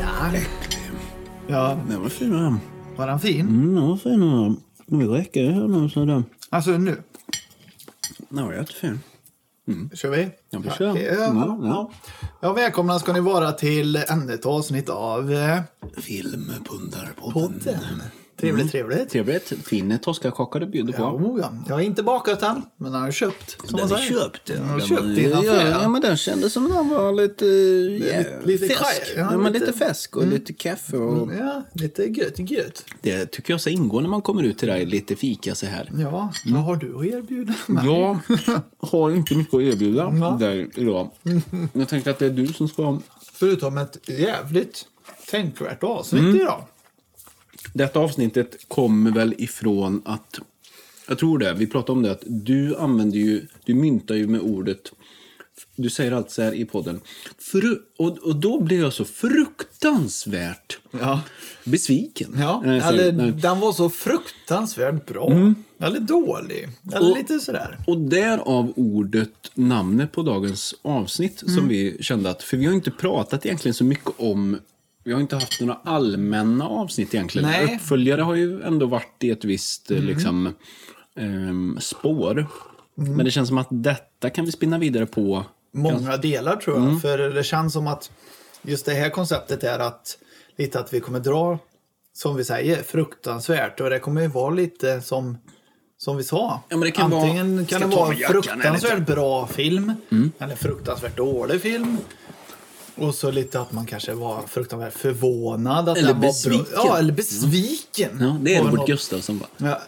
Ja, Ja, den var fin. va? var den fin? Mm, den var fin. va? Nu räcker det här nu. Så den. Alltså nu, den var jättefin. kör vi? Ja, vi kör. Okej, Ja, Ja, ja. Ja, välkomna ska ni vara till ännu ett avsnitt av eh, Filmpundarpodden. podden. Mm. Trevligt, trevligt. Trevligt. Fin toskakaka du bjuder på. Ja, oh, ja. Jag har inte bakat den, men den har jag köpt. Som man Den är säger. köpt. Den Den har var- köpt ja, innan ja, fredag. men den kändes som den var lite, eh, ja, lite färsk. kaj- ja, Ja, men lite- Mm. lite färsk och lite kaffe. Och... Ja, lite gött, gött. Det tycker jag ska ingå när man kommer ut till dig. Lite fika så här. Ja, Mm. vad har du att erbjuda mig? Jag har inte mycket att erbjuda Mm. dig idag. Jag tänkte att det är du som ska... Förutom ett jävligt tänkvärt avsnitt Mm. idag. Detta avsnittet kommer väl ifrån att... Jag tror det. Vi pratade om det. att Du använder ju... Du myntar ju med ordet... Du säger allt så här i podden. Fru, och, och då blir jag så fruktansvärt Ja. besviken. Ja, Nej, sorry. eller Nej. den var så fruktansvärt bra. Eller dålig. Eller Mm. Och- lite sådär. Och därav ordet, namnet på dagens avsnitt Mm. som vi kände att, för vi har inte pratat egentligen så mycket om, vi har inte haft några allmänna avsnitt egentligen. Nej. Mm. Uppföljare har ju ändå varit i ett visst eh, liksom, ehm, spår. Mm. Men det känns som att detta kan vi spinna vidare på. Många delar tror jag. Mm. För det känns som att just det här konceptet är att lite att vi kommer dra, som vi säger, fruktansvärt. Och det kommer ju vara lite som, som vi sa. Ja, men det kan vara- typ- Antingen Ska kan det jag ta vara mig en jackan, fruktansvärt bra film. Mm. Eller fruktansvärt dålig film. Och så lite att man kanske var fruktansvärt förvånad. Att Eller den var besviken. Mm. Bra. Ja, eller besviken. Ja, det är Var Robert något- Gustafsson. Bara. Ja,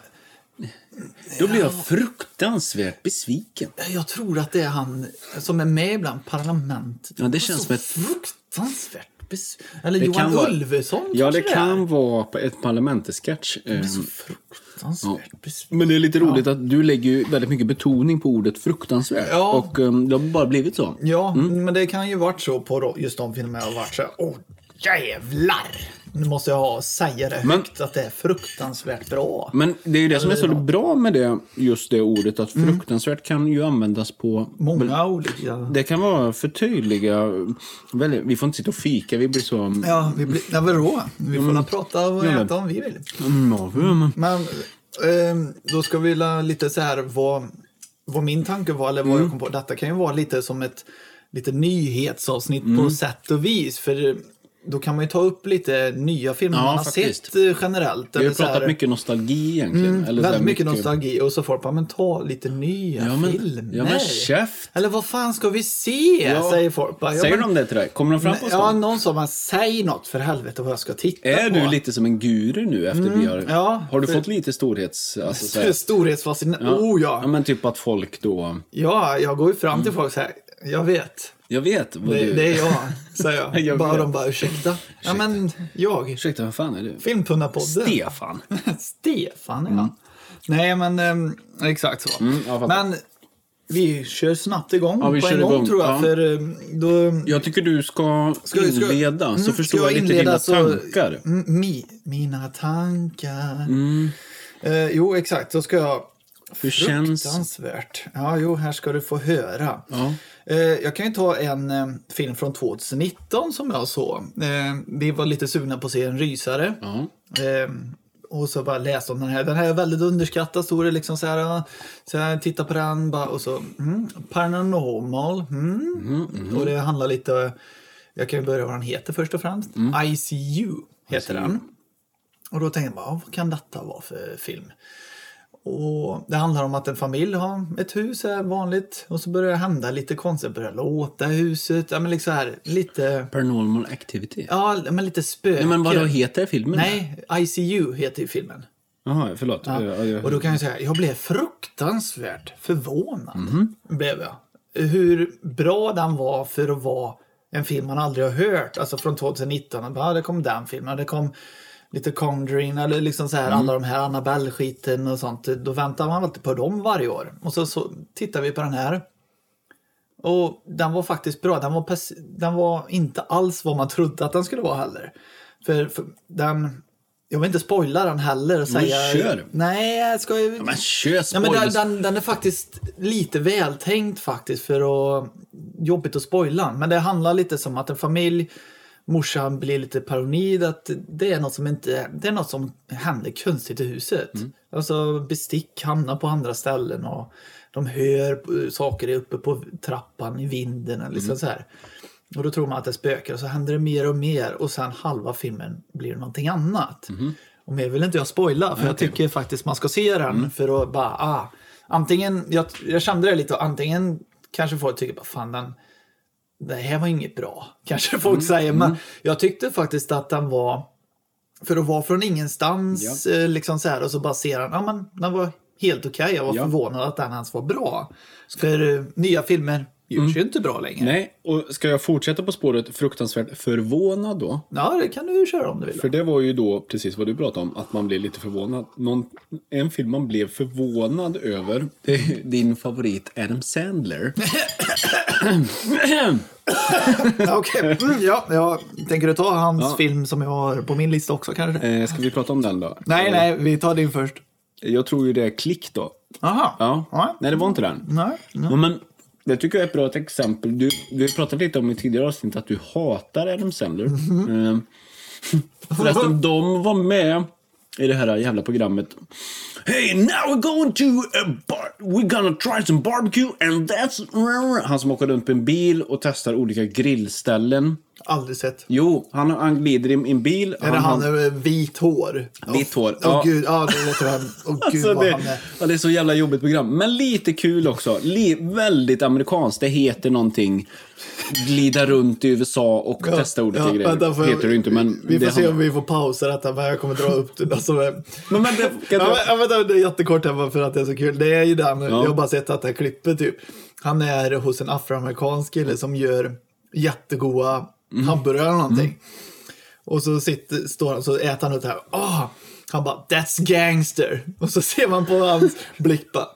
Då blir jag fruktansvärt besviken. Jag tror att det är han som är med ibland, Parlament. Ja, det känns så som ett- fruktansvärt bes... Eller Det Johan kan vara- Ulveson Ja, det kanske kan vara på ett parlamentesketch. är. ehm, Så fruktansvärt besviken. Men det är lite roligt att du lägger ju väldigt mycket betoning på ordet fruktansvärt. Ja. Och um, det har bara blivit så. Ja, Mm. men det kan ju varit så på då- just de filmerna jag har varit så här, åh jävlar! Nu måste jag ha- säga det Men- högt att det är fruktansvärt bra. Men det är ju det som är så bra med det, just det ordet, att Mm. fruktansvärt kan ju användas på... Många olika... Det kan vara förtydliga... väldigt- Vi får inte sitta och fika, vi blir så... Mm, Ja, vi blir... Ja, vadå? Vi får väl prata och Ja, men- äta om vi vill. Mm, ja, mm. Men ehm, då ska vi la lite så här vad, vad min tanke var eller vad Mm. jag kom på. Detta kan ju vara lite som ett lite nyhetsavsnitt Mm. på sätt och vis. För eh, då kan man ju ta upp lite nya filmer Ja, man har faktiskt. sett eh, generellt. Vi eller har så här- Mm, pratat mycket nostalgi egentligen. eller så här Väldigt mycket nostalgi och så folk bara, men ta lite nya Ja, men- filmer. ja, men käft. Eller vad fan ska vi se? Ja. Säger folk bara. Ja, Säger men- de det till dig? Kommer de fram på Ja, stan? någon sa, bara, säg något för helvete vad jag ska titta är på. du lite som en guru nu efter vi har... Mm, ja. har du fått lite storhets... Alltså, så här- Storhetsfascination. Oh ja. ja, men typ att folk då... Ja, jag går ju fram till folk så här. Jag vet. Jag vet vad Det, Mm. du... det är jag, säger jag. Jag bara vet. de bara ursäkta. Ja, men jag. Ursäkta, vem fan är du? Filmpundarpodden. Stefan. Stefan, ja. Nej, men ehm, exakt så. Mm. jag fattar. men vi kör snabbt igång vi på en kör gång igång, tror jag. ja. För ehm, då... Jag tycker du ska, Ska- ska- inleda, så Mm, förstår ska jag lite inleda dina så- tankar. Mm. Mm, Mi, mina tankar. Eh, jo, exakt. Då ska jag... Hur känns- Fruktansvärt. Ja, jo, här ska du få höra. Ja. Eh, jag kan ju ta en eh, film från 2019 som jag såg. Eh, vi var lite sugna på att se en rysare. Ja. Eh, och så bara läste om den här. Den här är väldigt underskattad, stod det liksom så här. ja. Så jag tittade på den bara, och så mm, Paranormal. Mm. Mm-hmm, Och det handlar lite, jag kan ju börja vad den heter först och främst. Mm. ICU heter den. Och då tänkte jag bara, ja, vad kan detta vara för film? Och Det handlar om att en familj har ett hus, är vanligt, och så börjar det hända lite konstigt. Börjar låta i huset, ja, men liksom så här, lite, Paranormal activity. ja, men lite spöken. Nej, men vad då heter filmen? Nej, ICU heter ju filmen. Jaha, förlåt. Ja. jag- Och då kan jag säga, jag blev Mhm. fruktansvärt förvånad. Blev jag. Hur bra den var för att vara en film man aldrig har hört. Alltså från 2019. Och Bara, ah, det kom den filmen. Det kom lite Conjuring eller liksom så här, Mhm. alla de här Annabelle-skiten och sånt. Då väntar man alltid på dem varje år. Och så, så tittar vi på den här. Och den var faktiskt bra. Den var, pers- den var inte alls vad man trodde att den skulle vara heller. För, för den... Jag vill inte spoila den heller och säga... kör. Nej, jag ska ju... Men kör Ja, men den, spoilers! den, den är faktiskt lite vältänkt faktiskt för att... Jobbigt att spoila. Men det handlar lite som att en familj, morsan blir lite paranoid att det är något som inte... Det är något som händer konstigt i huset. Alltså bestick hamnar på andra ställen och de hör eh, saker uppe på trappan i vinden eller liksom så här. Och då tror man att det är spökar och så händer det mer och mer och sen halva filmen blir någonting annat. Och mer vill inte jag spoila för jag tycker faktiskt man ska se den för att bara, ah, antingen, jag, jag kände det lite, och antingen kanske folk tycker bara fan den, det här var inget bra, kanske folk Mm, säger, men jag tyckte faktiskt att den var, för att vara från ingenstans, eh, liksom så här, och så bara ser den, ja men den var helt okej, jag var Ja. förvånad att den ens var bra. För eh, nya filmer görs ju inte bra längre. Mm. Nej, och ska jag fortsätta på spåret fruktansvärt förvånad då? Ja, det kan du köra om du vill. För det var ju då precis vad du pratade om, att man blev lite förvånad. Någon, en film man blev förvånad över, det är ju din favorit Adam Sandler. Ja, Okej, Mm, ja, jag tänker du ta hans film som jag har på min lista också kanske? Eh, Ska vi prata om den då? nej, nej, vi tar din först. Jag tror ju det är Klick då. Aha. Ja. Ja. Nej, det var inte den. Nej. Ja, men det tycker jag är ett bra exempel. Du, vi har pratat lite om i tidigare avsnitt att du hatar Adam Sandler. Mm-hmm. Ehm, Förresten, de var med i det här jävla programmet. Hey, now we're going to a bar. We're gonna try some barbecue and that's... Han som åker runt på en bil och testar olika grillställen. Aldrig sett. Jo, han, han glider i en bil. Är det han med vitt hår? Vitt hår, Åh ja. gud, ja det vet jag. Åh gud Alltså vad det, han är. ja, det är så jävla jobbigt program. Men lite kul också. Li, väldigt amerikanskt. Det heter någonting. Glida runt i USA och testa olika grejer. vänta, får jag- heter det inte, men... Vi får det se handlar- om vi får pausa detta, men jag kommer dra upp det. Alltså, men- Men vänta, kan Ja, jag- men, ja, vänta, det är jättekort här bara för att det är så kul. Det är ju den, jag har bara sett att det här klippet typ. Han är hos en afroamerikansk kille som gör jättegoda Mm. hamburgare eller någonting. Och så sitter, står han så äter han ut det här. Åh! Han bara “That's gangster” och så ser man på hans blick bara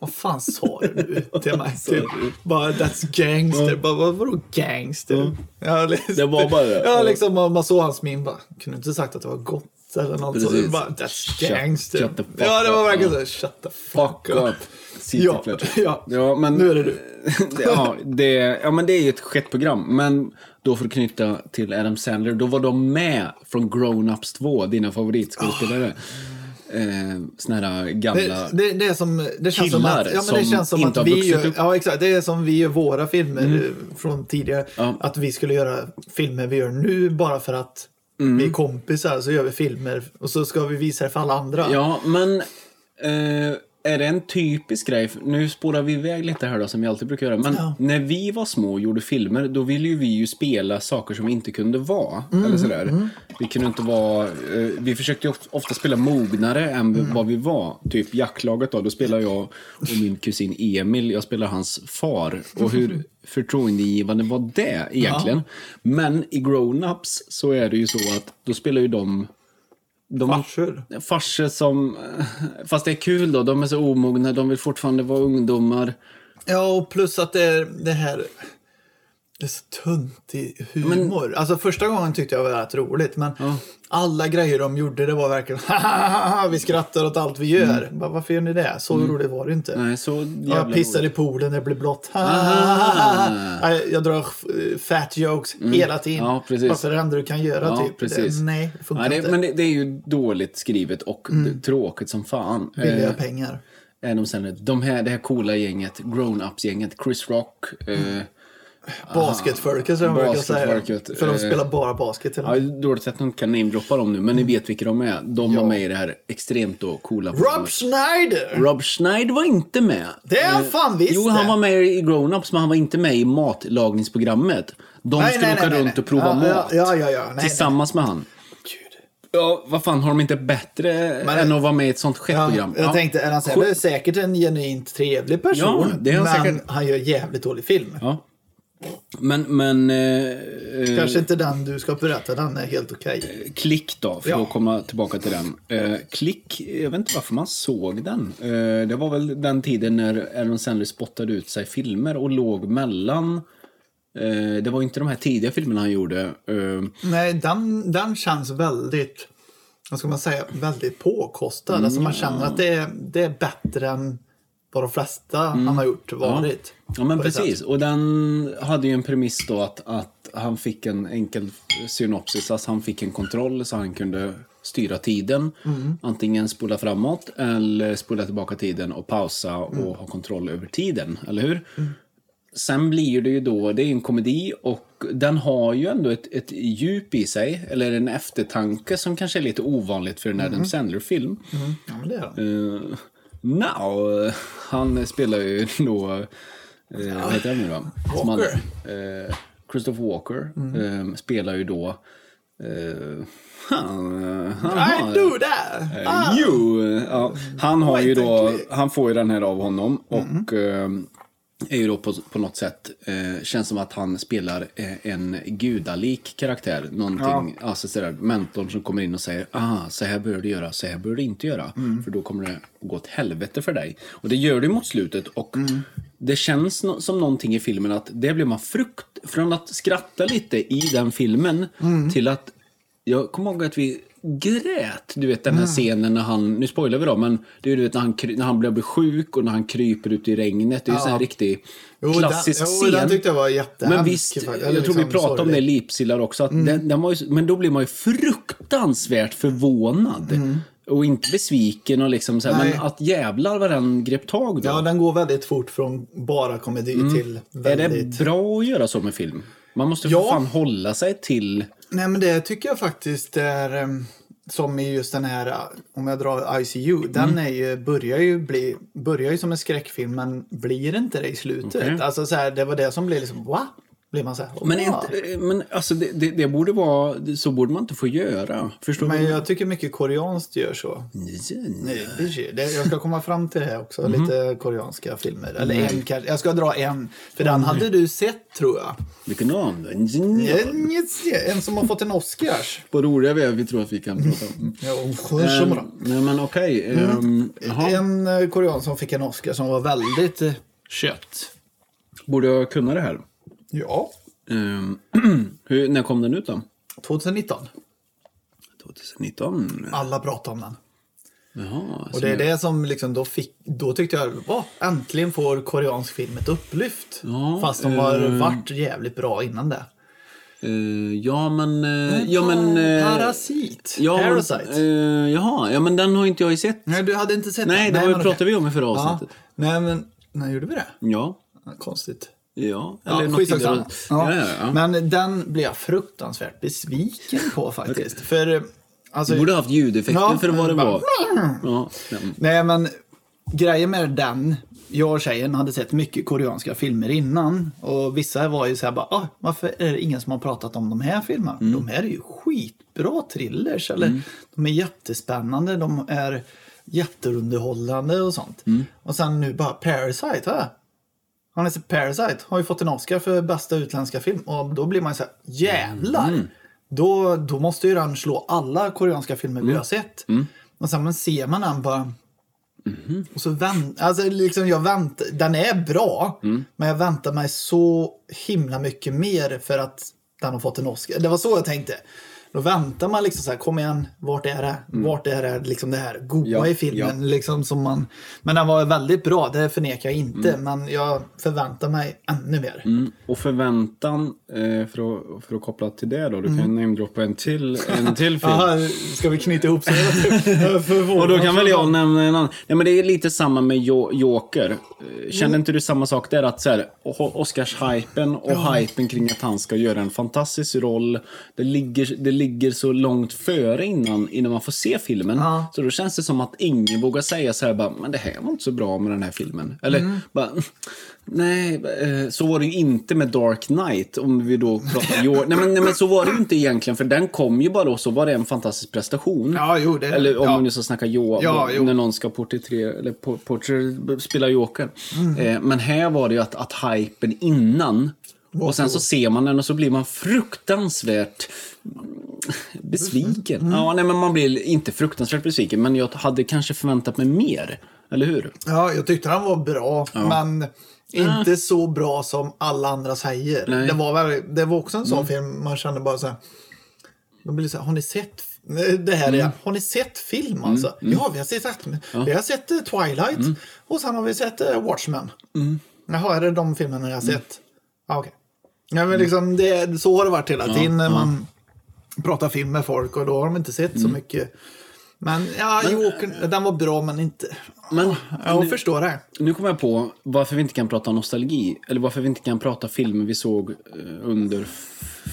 “Vad fan sa du nu till mig?” typ. Bara “That's gangster”. Bara, vad, vadå gangster? Ja, liksom, Det var bara det. Ja, liksom man, man såg hans min bara “Kunde du inte sagt att det var gott?” eller något sånt. Precis. Alltså, Bara, “That's Shut- gangster”. shut the fuck ja, det var up. verkligen så. “Shut the fuck Fuck up”. up. City Ja, Club. ja. ja, men... Nu är det du. ja, det, ja, men det är ju ett skett program. Men då för att knyta till Adam Sandler, då var de med från Grown Ups 2, dina favoritskådespelare. Eh, såna här gamla... Ah. Det, det, det, är som, det känns som Killar att, ja, men som det känns som inte att har vi vuxit gör, upp. Mm. ja, exakt, det är som vi gör våra filmer eh, från tidigare. Ja. Att vi skulle göra filmer vi gör nu bara för att Mm. vi är kompisar så gör vi filmer och så ska vi visa det för alla andra. Ja, men eh, är det en typisk grej? Nu spårar vi iväg lite här då, som vi alltid brukar göra. Men Ja. när vi var små och gjorde filmer, då ville ju vi ju spela saker som vi inte kunde vara. eller sådär. Vi kunde inte vara... Eh, vi försökte ju of- ofta spela mognare än vad vi var. Typ jacklaget då, då spelar jag och min kusin Emil, jag spelar hans far. Och hur förtroendegivande var det egentligen? Men i Grown-Ups så är det ju så att då spelar ju de... de Farsor. farsor som... eh, Fast det är kul då, de är så omogna, de vill fortfarande vara ungdomar. Ja, och plus att det är det här... Det är så töntig humor. Alltså första gången tyckte jag var rätt roligt, men alla grejer de gjorde det var verkligen vi skrattar åt allt vi gör. Bara, varför gör ni det? Så roligt var det inte. Mm. Nej, så Ja, jävla Ah. Jag pissar i poolen, det blir blått. Nej, Jag drar eh, fat jokes hela tiden. Mm. Ja, precis. Varför det enda du kan göra Ja, typ. precis. Det, nej, det funkar Nej, det, inte. Mm. men det, det är ju dåligt skrivet och d- tråkigt som fan. Billiga Eh, pengar. är de sen, de här, det här coola gänget, grown-ups-gänget, Chris Rock. Eh, Mm. Basketfolket som de brukar säga. Basketfolket, För de eh, spelar bara basket. till och ja, med. dåligt att de inte kan namedroppa dem nu, men ni vet vilka de är. De var med i det här extremt då coola Mm. Rob programmet. Schneider! Rob Schneider var inte med. Eh, Det är han fan visst Jo, han det. var med i Grown-Ups, men han var inte med i matlagningsprogrammet. De Nej, skulle nej, åka nej, runt nej. och prova Ja, mat. ja, ja, ja. Nej, tillsammans med han. Gud. Ja, vad fan, har de inte bättre än att vara med i ett sånt Ja, skettprogram? jag Ja. tänkte, alltså, är han så här, det är säkert en genuint trevlig person. Ja, det är han men säkert. han gör jävligt dålig film. Ja. Men, men... Eh, eh, Kanske inte den du ska berätta, den är helt okej. Klick då, för Ja. att komma tillbaka till den. Eh, klick, jag vet inte varför man såg den. Eh, det var väl den tiden när Aaron Sandler spottade ut sig filmer och låg mellan... Eh, det var inte de här tidiga filmerna han gjorde. Eh, Nej, den, den känns väldigt, vad ska man säga, väldigt påkostad. Mm, Alltså man känner att det är, det är bättre än vad de flesta han har gjort varit. Mm. ja, men På det sättet. precis. Och den hade ju en premiss då att, att han fick en enkel synopsis. Alltså han fick en kontroll så han kunde styra tiden. Mm. Antingen spola framåt eller spola tillbaka tiden och pausa och Mm. ha kontroll över tiden. Eller hur? Sen blir det ju då, det är ju en komedi och den har ju ändå ett, ett djup i sig, eller en eftertanke som kanske är lite ovanligt för en Mm. Adam Sandler-film. Ja, men det är den. Uh, now, eh, han spelar ju då, eh, vad heter han nu då? Som han- eh, Christopher Walker eh, spelar ju då, eh, han, eh, han har- I do that! Eh, Jo, ja, han har ju då, han får ju den här av honom och eh, är ju då på, på något sätt, eh, känns som att han spelar eh, en gudalik karaktär. Någonting, alltså sådär, mentorn som kommer in och säger ah, så här bör du göra, så här bör du inte göra. För då kommer det att gå åt helvete för dig. Och det gör det mot slutet och det känns no- som någonting i filmen att det blir man frukt, från att skratta lite i den filmen till att jag kommer ihåg att vi grät, du vet den Mm. här scenen när han, nu spoilar vi då, men det är ju du vet när han, kry- när han börjar bli sjuk och när han kryper ut i regnet. Det är ju en sån här riktig Jo, den- klassisk jo, scen. den tyckte jag var jättehemsk Men visst, faktiskt, eller jag tror vi liksom Mm. pratade om det i sorglig. Lipsillar också, att den, den var ju, men då blir man ju fruktansvärt förvånad. Och inte besviken och liksom så här, Mm. Nej. men att jävlar vad den grep tag då. Ja, den går väldigt fort från bara komedi till Mm. är väldigt... det bra att göra så med film? Man måste för Ja. fan hålla sig till... Nej, men det tycker jag faktiskt är em, som i just den här, eh, om jag drar ICU, den Mm. är ju, börjar, ju bli, börjar ju som en skräckfilm men blir inte det i slutet. Okej. Alltså så här, det var det som blev liksom, va? Blir man så här, Men, "Va?" inte, men alltså det, det, det borde vara, det- så borde man inte få göra. Förstår Men du? jag tycker mycket koreanskt gör så. Nej, det- det- Jag ska komma fram till det här också, Mm. lite koreanska filmer. Eller en kanske, jag ska dra en, för den Mm. hade du sett tror jag. Vilken användning? En, en som har fått en Oscars. Vad roliga vi är, vi tror att vi kan prata om. Ja, hon Ehm, sjunger nej men okej. ehm, jaha. En Mm. eh, korean som fick en Oscar som var väldigt eh, kött. Borde jag kunna det här? Ja. Ehm, hur, när kom den ut då? 2019. 2019. Alla pratade om den. Jaha. Och det är det som liksom då fick, då tyckte jag, va, äntligen får koreansk film ett upplyft. Ja, Fast de har varit jävligt bra innan det. Eh, ja men... eh, ja men... eh, Parasit. ja, men, Parasite. eh, jaha, ja men den har inte jag ju sett. nej, du hade inte sett Nej, den. det var ju men pratade okej. vi om i förra Ja, avsnittet. nej, men när gjorde vi det? Ja. Konstigt. Ja. Ja, något skitsamma. tidigare. ja. Ja, ja, ja. Men den blev jag fruktansvärt besviken på faktiskt. För eh, alltså, Du borde ha haft ljudeffekter Ja, för vad det bara- var. Ja, den. Nej, men grejen med den, jag och tjejen hade sett mycket koreanska filmer innan och vissa var ju så här bara, ah, varför är det ingen som har pratat om de här filmerna? De här är ju skitbra thrillers, eller de är jättespännande, de är jätteunderhållande och sånt. Och sen nu bara Parasite, va? Har ni sett Parasite? Har ju fått en Oscar för bästa utländska film och då blir man ju så här, jävlar! Då, då måste ju den slå alla koreanska filmer vi har sett. Och sen men ser man den bara, och så vänt, alltså liksom jag vänt, den är bra, Mm. men jag väntar mig så himla mycket mer för att den har fått en Oscar. Det var så jag tänkte. Då väntar man liksom så här, kom igen, vart är det? Vart är det liksom det här goa Mm. Ja, i filmen? Liksom som man, men den var väldigt bra, det förnekar jag inte, men jag förväntar mig ännu mer. Mm. Och förväntan, eh, för, att, för att koppla till det då, du kan ju namedroppa en till, en till film. Aha, ska vi knyta ihop så? Och Och då kan väl jag nämna en annan. Nej, men det är lite samma med Jo- Joker. Eh, Känner Mm. inte du samma sak där? Att så här, O- Oscars-hypen och hypen kring att han ska göra en fantastisk roll. Det ligger, det ligger så långt före innan, innan man får se filmen. Ja. Så då känns det som att ingen vågar säga så här bara, men det här var inte så bra med den här filmen. Eller Mm. bara, nej, eh, så var det ju inte med Dark Knight. Om vi då pratar Jo- nej, men, nej, men så var det ju inte egentligen. För den kom ju bara och så var det en fantastisk prestation. Ja, jo, det- Eller om ja. nu så snackar Johan, Ja, jo. när någon ska porträttera, eller por- Mhm. porträ- spela Joker. Eh, men här var det ju att, att hypen innan Och sen så ser man den och så blir man fruktansvärt besviken. Mm. Ja, nej, men man blir inte fruktansvärt besviken, men jag hade kanske förväntat mig mer. Eller hur? Ja, jag tyckte den var bra, men inte så bra som alla andra säger. Nej. Det var, väl, det var också en sån film man kände bara så här. De blir så här, har ni sett det här igen? Har ni sett film alltså? Mm. Ja, vi har sett, vi har sett eh, Twilight och sen har vi sett eh, Watchmen. Mm. Jaha, är det de filmerna jag har sett? Ja, okej. Ja, men liksom, det, så har det varit hela tiden när man pratar film med folk och då har de inte sett så mycket. Mm. Men ja, Joker, den var bra men inte... Men Jag förstår det. Nu kommer jag på varför vi inte kan prata nostalgi. Eller varför vi inte kan prata filmer vi såg eh, under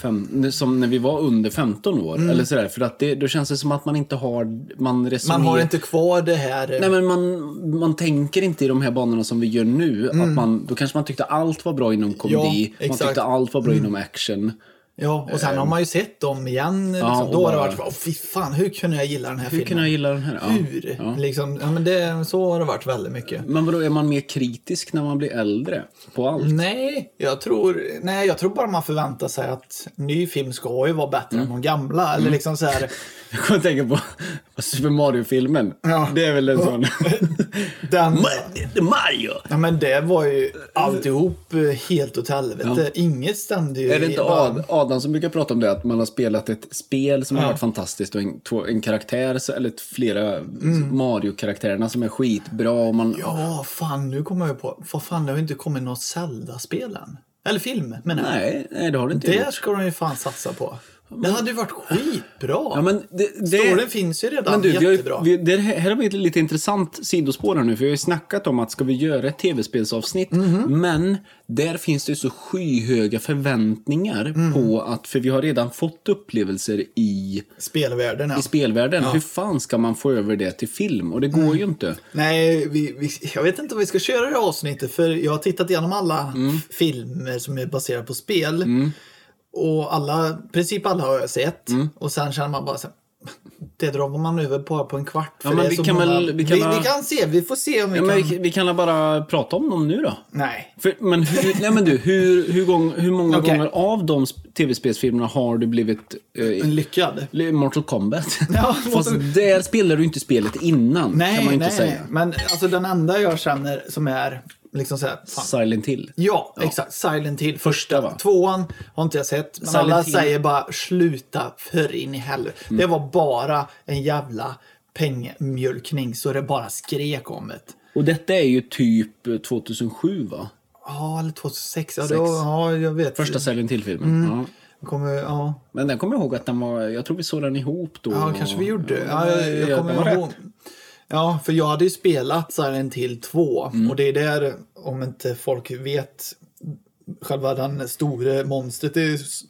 fem, som när vi var under 15 år. Mm. Eller sådär, för att det, då känns det som att man inte har... Man, resonerar, Man har inte kvar det här. eh, Nej, men man, man tänker inte i de här banorna som vi gör nu. Att man, då kanske man tyckte allt var bra inom komedi. man Mm. exakt. Mm. tyckte allt var bra inom action. Ja, och sen har man ju sett dem igen. Liksom. och då har det bara- varit åh fy fan, hur kunde jag gilla den Hur här filmen? kunde jag gilla den här? Ja. Hur? Liksom, ja, men det, så har det varit väldigt mycket. Men vadå, är man mer kritisk när man blir äldre? På allt? Mm. Nej jag, tror, nej, jag tror bara man förväntar sig att ny film ska ju vara bättre Mm. än de gamla. Eller liksom så här, Jag kommer att tänka på på Super Mario-filmen. Ja. Det är väl en sån... den, Mm. Ma- Mario! ja, men det var ju alltihop eh, helt åt helvete. Inget stämde ju. Är det i- inte Ad, Adam som brukar prata om det, att man har spelat ett spel som har varit fantastiskt och en, två, en karaktär, så- eller ett- flera Mario-karaktärerna som är skitbra och man... Mm. Ja, fan, nu kommer jag på. Vad fan, det har ju inte kommit något Zelda-spel än. Eller film, men Nej, nej, det har det inte gjort. Det ska de ju fan satsa på. Det hade ju varit skitbra. Ja, men det, det... Storyn finns ju redan Men du, vi har ju, jättebra. vi, det här har vi ett lite intressant sidospår här nu, för vi har ju snackat om att ska vi göra ett tv-spelsavsnitt, Mhm. men där finns det ju så skyhöga förväntningar Mm. på att, för vi har redan fått upplevelser i, Spelvärlden, ja. i spelvärlden. Hur fan ska man få över det till film? Och det går ju inte. Nej, vi, vi, jag vet inte om vi ska köra det här avsnittet för jag har tittat igenom alla Mm. f- filmer som är baserade på spel. Och alla, i princip alla har jag sett. Mm. Och sen känner man bara så här, det drar man över bara på en kvart. För men det är vi så kan många- väl- vi kan vi, ha- vi kan se, vi får se om vi Ja, men kan... vi, vi kan väl bara prata om dem nu då? Nej. För, men, hur, nej, men du, hur, hur, gång, hur många Okej. gånger av de sp- tv-spelsfilmerna har du blivit eh, Lyckad. Mortal Kombat. Mm. Ja, Fast där spelar du inte spelet innan, kan Nej, man ju inte nej, nej. säga. Men alltså den enda jag känner som är liksom så här, fan, Silent Hill. Ja, exakt. Silent Hill. Första, va? Tvåan har inte jag sett. Men Silent alla Hill. säger bara sluta för in i helvete. Det var bara en jävla pengamjölkning så det bara skrek om det. Och detta är ju typ 2007, va? Ja, eller 2006. Ja, det var, ja jag vet. Första Silent Hill-filmen. Mm. Ja. Kommer, ja. Men den kommer jag ihåg att den var... Jag tror vi såg den ihop då. ja, kanske vi gjorde. Ja, jag, ja, jag det var kommer ihåg. Ja, för jag hade ju spelat Silent Hill 2 Mm. och det är där, om inte folk vet, själva den store monstret i s-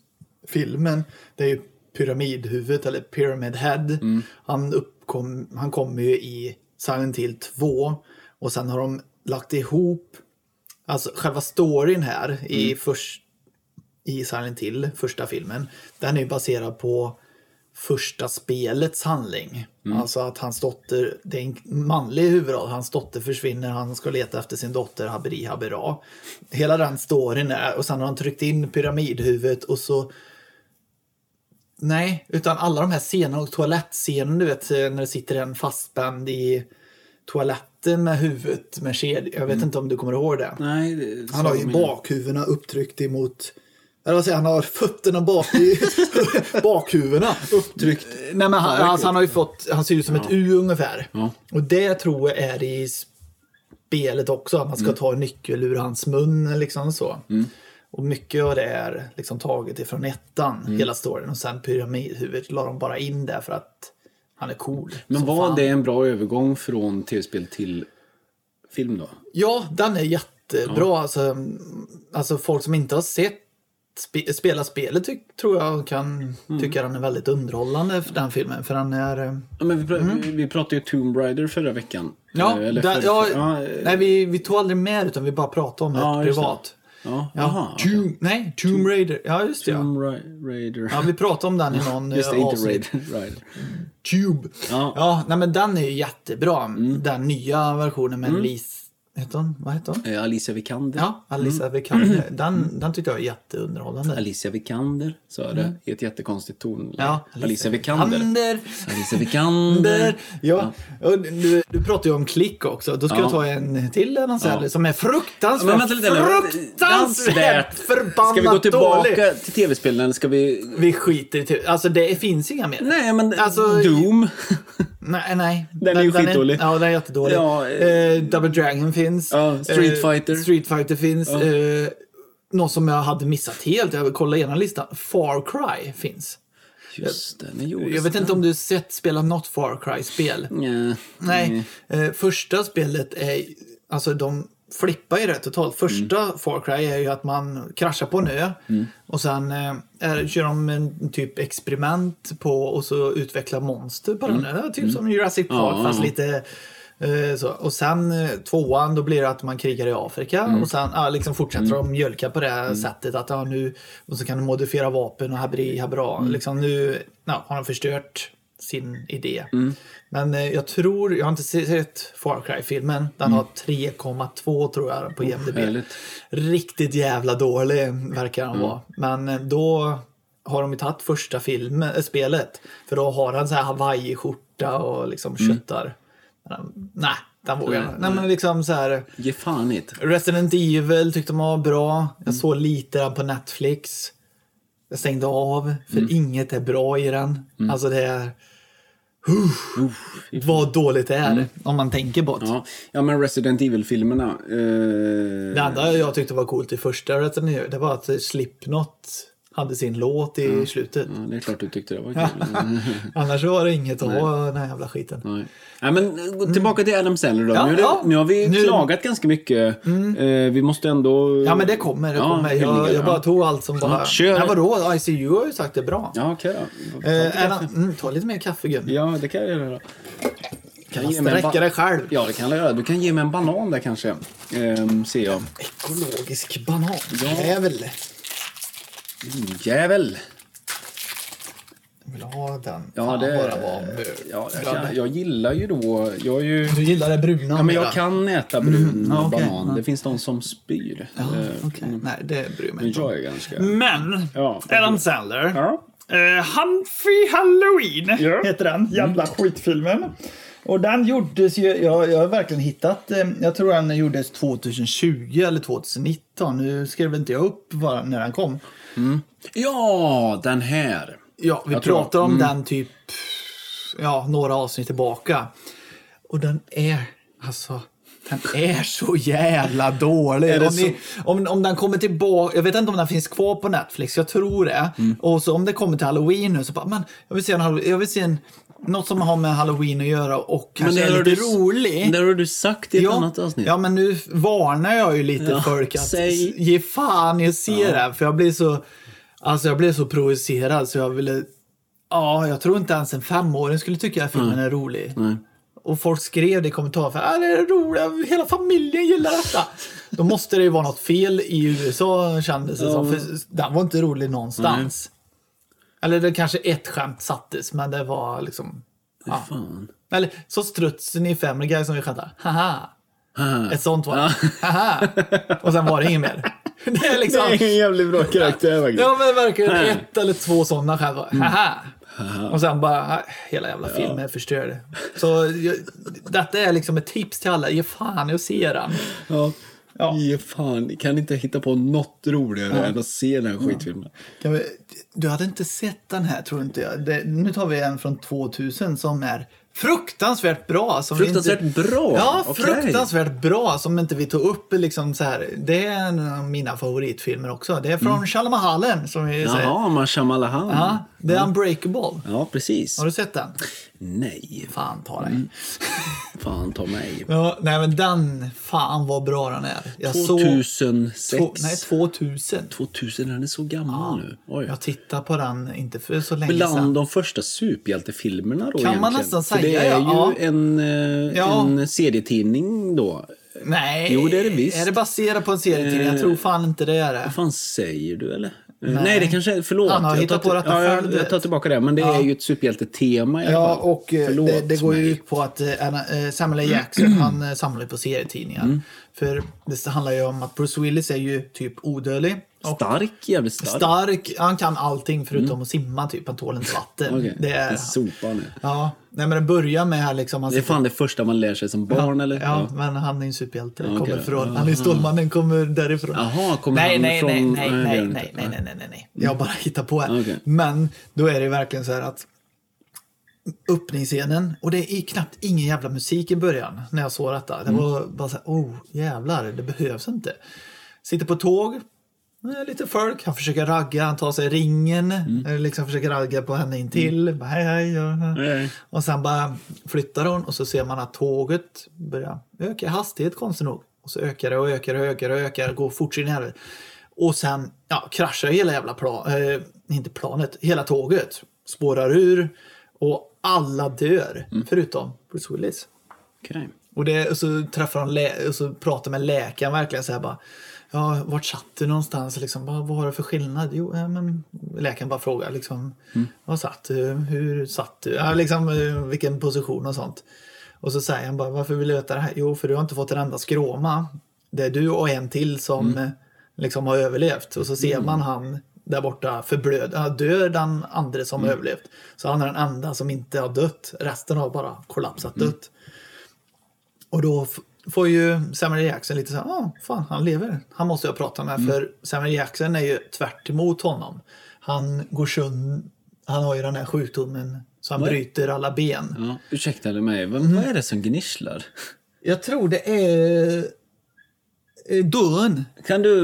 filmen, det är ju pyramidhuvudet eller Pyramid Head. Mm. Han, uppkom, han kommer ju i Silent Hill 2 och sen har de lagt ihop Alltså själva storyn här Mm. i, först, i Silent Hill, första filmen, den är ju baserad på första spelets handling. Alltså att hans dotter, det är en manlig huvudroll, hans dotter försvinner, han ska leta efter sin dotter Haberi Habera. Hela den storyn är, och sen har han tryckt in pyramidhuvudet och så Nej, utan alla de här scenerna och toalettscenen, du vet eh, när det sitter en fastspänd i toaletten med huvudet med kedja. Jag vet inte om du kommer ihåg det. Nej, det- Han har ju bakhuvudena upptryckt emot... Eller vad säger jag, han? har fötterna bak i... bakhuvudena upptryckt. Nej, men han, alltså, han har ju fått... Han ser ut som ett U ungefär. Ja. Och det tror jag är i spelet också. Att man ska ta en nyckel ur hans mun liksom så. Och mycket av det är liksom taget ifrån ettan, hela storyn. Och sen pyramidhuvudet la de bara in där för att han är cool. Men som var fan. det en bra övergång från tv-spel till film då? Ja, den är jättebra. Alltså, alltså folk som inte har sett spe, spela spelet ty, tror jag kan Mm. tycka den är väldigt underhållande, för den filmen. För den är... eh, Ja, men vi, pr- vi, vi pratade ju Tomb Raider förra veckan. Ja, Eh, eller där, för- ja, ja, eh, nej, vi, vi tog aldrig med utan vi bara pratade om Ja, det just det. privat. ja. Ja, Aha, Tomb, Nej, Tomb Raider. Ja, just det. Ja. Tomb Ra- Raider. Ja, vi pratade om den i någon Just det, eh, inte avsnitt. Raider. Raider. Tube. Ja. Mm. Ja, nej, men den är ju jättebra. Den nya versionen med Liz Hette hon? Vad hette hon? Eh, Alicia Vikander. Ja, Alicia Mm. Vikander. Den, den tyckte jag var jätteunderhållande. Alicia Vikander, sa det i ett jättekonstigt ton. Mm. Ja, Alicia Vikander. Alicia Där. Vikander. Ja. Och Du, du pratar ju om klick också. Då ska Ja. jag ta en till Adam Sandler Ja. som är fruktansvärt, Men vänta lite nu. fruktansvärt Dansvärt. förbannat Ska vi gå tillbaka dålig. till tv-spelen? eller Ska vi... Vi skiter i det. Alltså det finns inga mer. Nej, men Alltså- Doom. Nej, nej. Den är ju skitdålig. ja, den är jättedålig. Ja, eh, eh, Double Dragon finns. Eh, Ja, Street Fighter. Street Fighter finns. Eh, något som jag hade missat helt. Jag kollade igenom listan. Far Cry finns. Just det, den gjordes. Jag vet inte om du sett spela något Far Cry-spel. Nja. Nej, Mm. eh, första spelet är... Alltså de flippar ju rätt totalt. Första Mm. Far Cry är ju att man kraschar på en ö och sen eh, är, kör de en typ experiment på och så utvecklar monster på den ön. Typ som Jurassic Park Mm. Ja, fast ja. lite... eh, Så. Och sen eh, tvåan, då blir det att man krigar i Afrika och sen ja, liksom fortsätter de mjölka på det här sättet. Att, ja, nu, och så kan de modifiera vapen och habri habra. Liksom, nu ja, har de förstört sin idé. Men eh, jag tror, jag har inte sett Far Cry-filmen. Den har 3,2 tror jag på IMDB. härligt. Riktigt jävla dålig verkar den vara. Men eh, då har de ju tagit första filmen, äh, spelet. För då har han så här hawaii-skjorta och liksom köttar. Men, nej, den vågar jag Nej, inte. Nej, men liksom så här. Ge fan i det. Resident Evil tyckte man var bra. Jag såg lite den på Netflix. Jag stängde av, för inget är bra i den. Alltså det är... Uff, Mm. vad dåligt det är, om man tänker bort. Ja. ja, men Resident Evil-filmerna. Eh, Det enda jag tyckte var coolt i första Resident Evil, det var att Slipknot hade sin låt i Mm. slutet. ja, det är klart du tyckte det var kul. Annars var det inget att ha den här jävla skiten. Nej. Nej, men eh, gå tillbaka till Adam Sandler då. Ja, nu, är det, ja. nu har vi Nu- Mm. klagat ganska mycket. Eh, vi måste ändå... Ja men det kommer, det Ja, kommer. Jag, hyllningar, jag bara ja. tog allt som bara... kör. Nej vadå, ICU har ju sagt det är bra. Ja, okej då. Eh, Erland, mm, ta lite mer kaffe gubben. Ja, det kan jag göra. Kan Man ge mig en sträcker ba- dig själv. Ja, det kan jag göra. Du kan ge mig en banan där kanske. Ehm, ser jag. Ekologisk banan. Ja. Jävel. Jävel! Jag vill ha den. Ja, Fan, det... bara var mörk. ja, jag, kan, jag gillar ju då... Jag är ju... Du gillar det bruna Ja, men jag mera. kan äta brun Mm. ja, okej. banan. Ja. Det finns de som spyr. Ja, Mm. Eh, okej. Nej, det bryr jag mig Men inte om. jag är ganska... Men, Ja. Adam Sandler. Ja. Eh, Humphrey Halloween Ja. heter den jävla skitfilmen. Och den gjordes ju, jag, jag har verkligen hittat, eh, jag tror den gjordes 2020 eller 2019. Nu skrev inte jag upp var, när den kom. Ja, den här. Ja, vi Jag Mm. tror- pratar om den typ ja, några avsnitt tillbaka. Och den är, alltså, den är så jävla dålig. det Om, ni, om, om den kommer tillbaka, jag vet inte om den finns kvar på Netflix, jag tror det. Mm. Och så om det kommer till Halloween nu så bara, men jag vill se en, Halloween- jag vill se en något som har med Halloween att göra och kanske Alltså, är lite rolig. Det har du sagt i ett Ja, annat avsnitt. ja, men nu varnar jag ju lite Ja, folk att säg. ge fan jag ser det här, för jag blir så alltså jag blir så provocerad så jag ville ja, jag tror inte ens en femåring skulle tycka att filmen är rolig. Och folk skrev det i kommentarer för äh, det är roligt, hela familjen gillar detta. Då måste det ju vara något fel i USA kändes det som, för den var inte rolig någonstans. Eller det kanske ett skämt sattes, men det var liksom... Ja. Fan. Eller så strutsen i Family Guy som vi skämtar. Haha. Haha. Ett sånt var det. Haha. Och sen var det inget mer. Det är liksom... en jävligt bra karaktär faktiskt. Det var väl verkligen Nej. ett eller två sådana skämt. bara, Haha. Och sen bara, äh, hela jävla filmen är förstörd. Så jag, detta är liksom ett tips till alla. Ge fan i att se den. Ja. Ja. Ge fan, kan inte hitta på något roligare än att se den här skitfilmen. Kan vi, du hade inte sett den här, tror inte jag. Det, nu tar vi en från 2000 som är fruktansvärt bra. Som vi Fruktansvärt bra! Ja, Okej. fruktansvärt bra som inte vi tog upp. Liksom så här. Det är en av mina favoritfilmer också. Det är från mm. Shalamahallen som vi säger. Jaha, Mashamalahan. Ja, det är Unbreakable. Ja, precis. Har du sett den? Nej, Fan ta Mm. dig. fan ta mig. Ja, nej men den, fan vad bra den är. Jag såg... 2006. Två, nej, 2000. 2000, den är så gammal nu. Oj. Jag tittade på den inte för så länge Bland sedan. de första superhjältefilmerna då man egentligen. nästan För säga, det är ja. ju en, eh, Ja. en serietidning då. Nej, Jo, det är det visst. Är det baserat på en serietidning? Jag Eh, tror fan inte det är det. Vad fan säger du eller? Eh, Nej, det kanske är... Förlåt. Han har Jag tar hittat till- på detta ja, själv, jag, du jag tar vet. tillbaka det. Men det är ju ett superhjältetema i alla Ja, fall. och eh, Förlåt det, det går ju mig. ut på att eh, Anna- eh, Samuel L. Jackson han eh, samlar ju på serietidningar. Mm. För det handlar ju om att Bruce Willis är ju typ odödlig. Och Stark, jävligt stark. stark. Han kan allting förutom att simma typ. Han tål inte vatten. Okej, Det är... sopa nu. Ja, nej men det börjar med här liksom. Han Det är fan det första man lär sig som barn, eller? Ja, men han är ju en superhjälte. okej kommer då. från, han är Stålmannen, kommer därifrån. Jaha, kommer nej, han nej, från- Nej, Nej, nej, det gör nej, han nej, inte. nej, nej, nej, nej, nej. Jag bara hittar på här. Okej. Men då är det verkligen så här att öppningsscenen, och det är knappt ingen jävla musik i början när jag såg detta. Det Mm. var bara så här, oh jävlar, det behövs inte. Sitter på tåg, Eh, Lite folk, han försöker ragga, han tar sig ringen, Mm. eh, liksom försöker ragga på henne intill. Bara, hej, hej, ja, ja. hej. Och sen bara flyttar hon och så ser man att tåget börjar öka i hastighet konstigt nog. Och så ökar det och ökar och ökar och ökar, går fort in i helvete. Och sen ja, kraschar hela jävla plan, eh, inte planet, hela tåget. Spårar ur och alla dör, förutom Bruce Willis. Okej. Och, det, och så träffar han lä- och så pratar med läkaren verkligen så här bara. Ja, vart satt du någonstans? Liksom, bara, vad har du för skillnad? Jo, ja, men läkaren bara frågar liksom. Var satt du? Hur satt du? Ja, liksom, eh, vilken position och sånt. Och så säger han bara, varför vill du veta det här? Jo, för du har inte fått en enda skråma. Det är du och en till som eh, liksom har överlevt. Och så ser man han där borta förblöd. Ja, dör den andra som har överlevt. Så han är den enda som inte har dött. Resten har bara kollapsat dött. Och då f- får ju Samuel Jackson lite så här, ah, fan han lever. Han måste jag prata med för Samuel Jackson är ju tvärt emot honom. Han går sund, han har ju den här sjukdomen så han bryter alla ben. Ja, ursäkta mig, vad, vad är det som gnisslar? Jag tror det är eh, dörren. Kan du...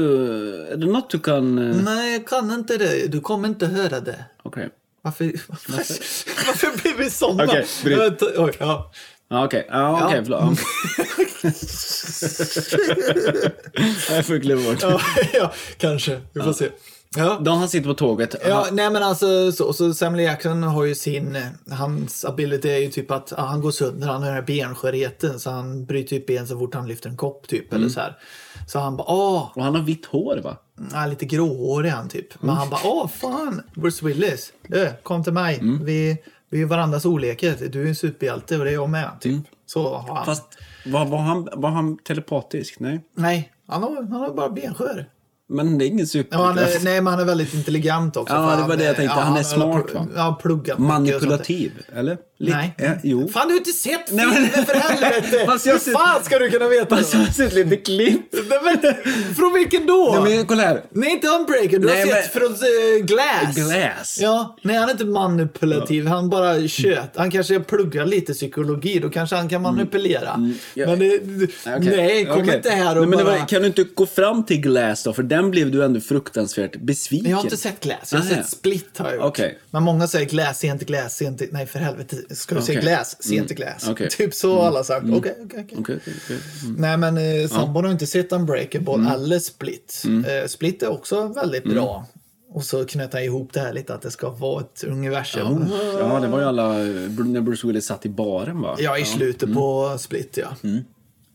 Är det något du kan... eh, Nej, jag kan inte det. Du kommer inte höra det. Okej. Varför, varför, varför blir vi sådana? Okej, bryt. Jag tar- oj, ja. Ja, okej. Ja, okej. Ja. Förlåt. Ja. Jag får glömma bort. Ja, ja, kanske. Vi får se. Ja. De han sitter på tåget. Ja, nej men alltså så, så Samuel Jackson har ju sin, eh, hans ability är ju typ att ja, han går sönder, han har den här benskörheten så han bryter ju ett ben så fort han lyfter en kopp typ Mm. eller så här. Så han bara ah, Och han har vitt hår, va? ja, lite gråhårig är han typ. Mm. Men han bara ah fan, Bruce Willis, du, kom till mig, Mm. vi, vi är varandras olikhet, du är en superhjälte och det är jag med typ. Så har han. Mm. Fast var, var, han, var han telepatisk? Nej. Nej, han har, han har bara benskör. Men det är ingen Ja, han superkraft. är, nej, men eh, han är väldigt intelligent också. Ja, för det var han, det jag eh, tänkte. Han är smart, pl- va? Ja, han pluggat mycket och sånt där. Manipulativ, eller? Lite- Nej. Eh, jo. Fan, du har inte sett Nej, men- filmen för helvete! Fast jag Hur fan ska du kunna veta Alltså, det? jag har sett lite klipp. Nej, men, från vilken då? Nej, Nej, men kolla här. inte Unbreaker. Du Nej, har men- sett från eh, Glass. Glass. Ja, nej han är inte manipulativ. Han bara tjöt. Han kanske pluggar lite psykologi. Då kanske han kan manipulera. Mm. Ja. Men det, Okej. nej, kom Okej. inte här Nej, och men det bara... var, Kan du inte gå fram till Glass då? För den blev du ändå fruktansvärt besviken. Jag har inte sett Glass, jag har Nähä. sett Split har jag gjort. Okej. Men många säger Glass, se inte Glass, se inte... Nej för helvete, ska du se Okej. Mm. Glass, se inte Glass. Okej. Mm. Typ så har alla sagt. Okej, okej, okej. Okej, okej, okej. Nej men eh, sambon har inte sett Unbreakable Mm. eller Split. Eh, Split är också väldigt bra. Och så knöt han ihop det här lite att det ska vara ett universum. Ja, det var ju alla... eh, När Bruce Willis satt i baren, va? Ja, i slutet Mm. på Split ja.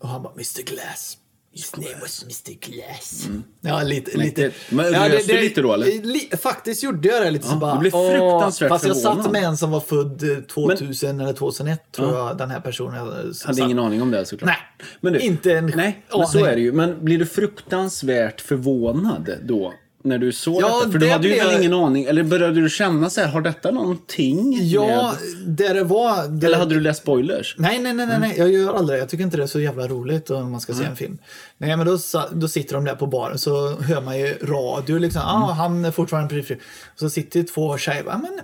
Och han bara Mr Glass. His name was Mr Glass. Ja, lite. det- lite. Mm. men rös du lite då, eller? Li, faktiskt gjorde jag det lite så bara. du blev åh, fruktansvärt Fast jag satt förvånad. med en som var född eh, 2000 eller 2001 tror jag den här personen. Jag Jag hade ingen aning om det såklart. Alltså, Nej, men du, inte en Nej, men aning. så är det ju. Men blir du fruktansvärt förvånad då? När du såg Ja, detta? För du det hade ju blev- väl ingen aning? Eller började du känna så här, har detta någonting Ja, med... där det var. där- Eller hade Mm. du läst spoilers? Nej, nej, nej, nej, nej, jag gör aldrig det. Jag tycker inte det är så jävla roligt om man ska Mm. se en film. Nej, men då, sa- då sitter de där på baren så hör man ju radio liksom. Ah, Mm. han är fortfarande precis. Och så sitter ju två tjejer. Ah, men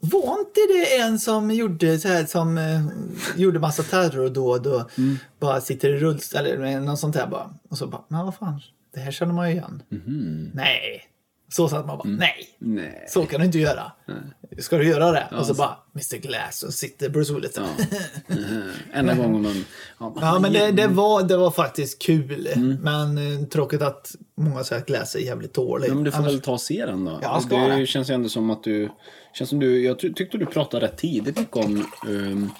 var inte det en som gjorde så här som eh, gjorde massa terrordåd och Mm. bara sitter i rullstol eller något sånt där bara. Och så bara, men vad fan, det här känner man ju igen. Mhm. Nej. Så satt man bara, Mm. nej. Nej. Så kan du inte göra. Ska du göra det? och så bara, Mr Glass, och sitter Bruce Willis. Enda gången man... Ja, Ja, men det, Mm. det, var, det var faktiskt kul. Men eh, tråkigt att många säger att läsa är jävligt dåligt. men du får Annars- väl ta och se den då. Ja, ska det det. känns ju ändå som att du... Känns som du jag ty- tyckte du pratade rätt tidigt mycket om... ehm,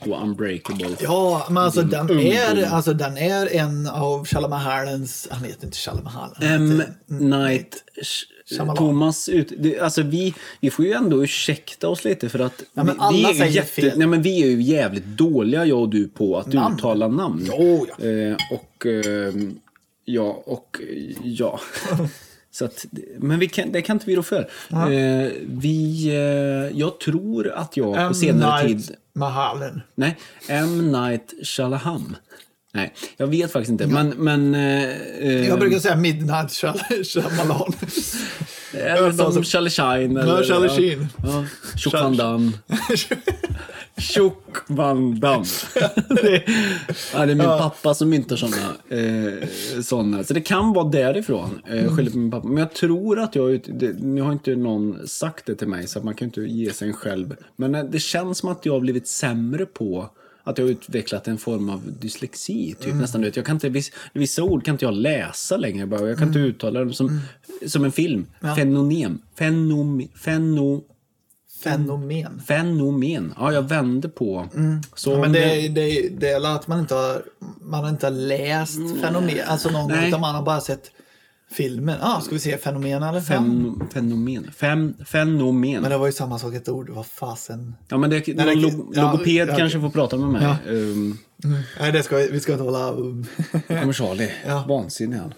och Unbreakable. Ja, men alltså den, ungdom. är, alltså den är en av Shalamahalens... Han heter inte Shalamahal. han M. heter- Night Sh- Shyamalan. Thomas ut, det, alltså vi, vi får ju ändå ursäkta oss lite för att men vi, alla vi, är ju säger fel. nej, men vi är ju jävligt dåliga jag och du på att Namn. uttala namn. Jo, ja. Eh, och eh, ja, och eh, ja. Så att, men vi kan, det kan inte vi rå för. Eh, vi, eh, jag tror att jag på M. senare Night tid... Mahalen. Nej, M. Night Shalaham. Nej, jag vet faktiskt inte. Men, men eh, eh, Jag brukar säga Midnight Shal- Shyamalan. Eller som Charlie Sheen. eller- Charlie Sheen. Ja. Tjock Van Damme. Tjock Van Damme. det, ja, det är min pappa som myntar sådana. Eh, såna. Så det kan vara därifrån. Eh, Mm. jag skyller på min pappa. Men jag tror att jag... ut- Det, nu har inte någon sagt det till mig så att man kan ju inte ge sig en själv. Men eh, det känns som att jag har blivit sämre på att jag har utvecklat en form av dyslexi. Typ, Mm. nästan, du vet, jag kan inte, vissa, vissa ord kan inte jag läsa längre. Bara. Jag kan Mm. inte uttala dem som, som en film. Fenomen. Fenomen. Feno, Fenomen. fenomen. Ja, jag vände på. Så Mm. Men om det, är- det, är- det är väl att man inte har, man har inte har läst fenomen, alltså någon gång, Nej. utan man har bara sett filmen. Ah, ska vi se fenomen eller? Ja. Fen- Fenomen. Fem, fenomen. Men det var ju samma sak, ett ord. Vad fasen. ja, men det, någon det- lo- ja, logoped ja, kanske får prata med mig. Ja. Ehm, Nej, det ska vi, vi ska inte hålla... um, Då kommer Charlie. Ja. Vansinnig han.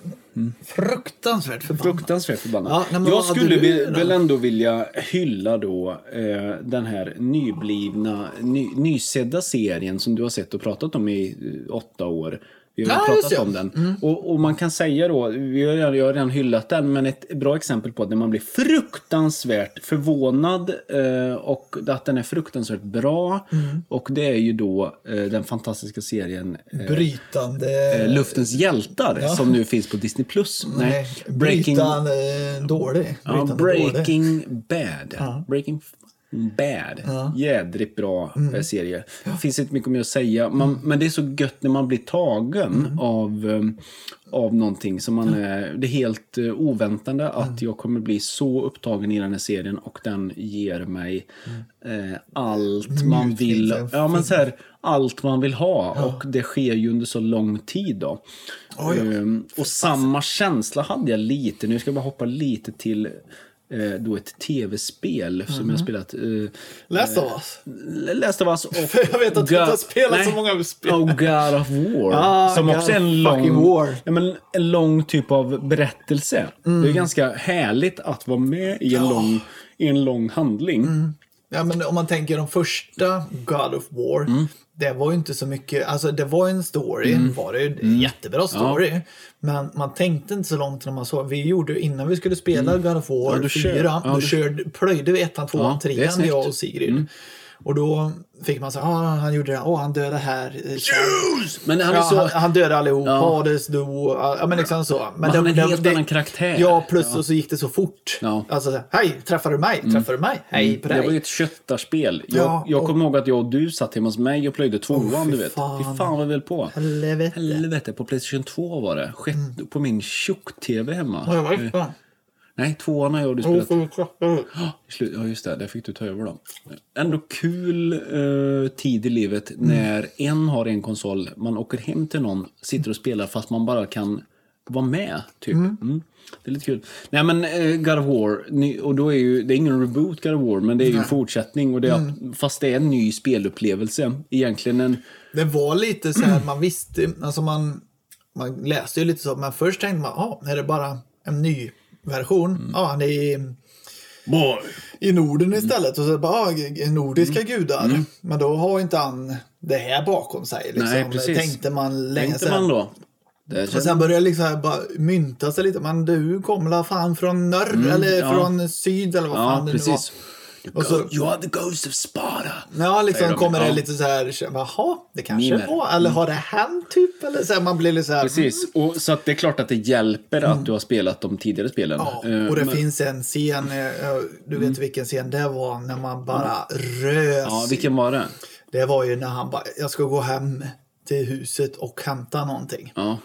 Fruktansvärt förbannat. Fruktansvärt förbannad. Ja, nej, men jag vad hade skulle du vi- då? väl ändå vilja hylla då eh, den här nyblivna, ny, nysedda serien som du har sett och pratat om i eh, åtta år. Vi har Ja, just pratat det. Mm. om den. Och, och man kan säga då, vi har, jag har redan hyllat den, men ett bra exempel på att när man blir fruktansvärt förvånad eh, och att den är fruktansvärt bra. Mm. Och det är ju då eh, den fantastiska serien eh, Brytande... Eh, Luftens hjältar som nu finns på Disney+. Plus. Nej, Breaking, Brytan eh, dålig. ja, Brytan dålig. breaking Bad. Breaking f- Bad. Jädrigt bra eh, serie. Det finns inte mycket mer att säga. Man, Men det är så gött när man blir tagen av, eh, av någonting. Som man, är- Det är helt eh, oväntande att jag kommer bli så upptagen i den här serien och den ger mig eh, allt man vill. finns det. Ja, men så här, allt man vill ha. Och det sker ju under så lång tid. då. Oj, ja. Ehm, och samma känsla hade jag lite, nu ska jag bara hoppa lite till eh, då ett tv-spel som Mhm. jag spelat. Eh, Last of us. Last of Us och... Jag vet att du inte har spelat så många spel. Och God of War. Ah, som God också är en of fucking lång, War. Mm. Ja, men en lång typ av berättelse. Det är ganska härligt att vara med i en, lång, i en lång handling. Mm. Ja, men om man tänker de första God of War. Mm. Det var ju inte så mycket, alltså det var en story, var det ju, Mm. en jättebra story. Men man tänkte inte så långt när man såg, vi gjorde ju innan vi skulle spela God of War Mm. Ja, du kör. 4, Ja, då du- körde, plöjde vi ettan, tvåan, Ja, det är trean, snyggt. Mm. jag och Sigrid. Och då fick man säga, ah, han gjorde det, här. åh han dödade här. eh, Men han är Ja, så... han, han dödade allihop, Hades, du, ja men liksom så. Men, han är en helt annan karaktär. Ja, plus och så gick det så fort. Ja. Mm. Alltså, så här, hej, träffar du mig? Träffar du mig? Hej på dig. Det var ju ett köttarspel. Jag, Ja, jag och- kommer ihåg att jag och du satt hemma hos mig och plöjde tvåan, fy du vet. fan. Fy fan vad vi höll på. Helvete. Helvete, på Playstation 2 var det. Skett på min tjock-tv hemma. Mm. Ja, jag var ju fan. Nej, tvåan har jag och du spelat. Ah, vi klappa I slut- Ja, just det. Där fick du ta över dem. Ändå kul eh, tid i livet Mm. när en har en konsol, man åker hem till någon, sitter och spelar fast man bara kan vara med. Typ. Mm. Det är lite kul. Nej, men eh, God of War, ny, och då är ju, det är ingen reboot God of War, men det är ju en fortsättning. Och det är, Mm. Fast det är en ny spelupplevelse. Egentligen en... Det var lite så här, man visste, alltså man, man läste ju lite så, men först tänkte man, ja, ah, är det bara en ny version? Ja, han är i, i Norden istället. Och så bara, ah, g- nordiska gudar. Men då har inte han det här bakom sig. Liksom. Nej, precis. Tänkte man länge Tänkte sedan. man då. Det Och sen började jag liksom här bara mynta sig lite. Men du kom la fan från norr eller ja. från syd eller vad ja, fan det nu var. precis. Och så- You are the ghost of Sparta. Ja, Säger liksom de. kommer det Ja. lite så här, jaha, det kanske Mimer. var, eller har det hänt typ? Eller så här, man blir lite så här, Precis, och så att det är klart att det hjälper att du har spelat de tidigare spelen. Mm. ja. Eh, Och det men- Mm. finns en scen, eh, du vet vilken scen det var, när man bara rös. Ja, vilken var det? Det var ju när han bara, jag ska gå hem till huset och hämta någonting. Ja.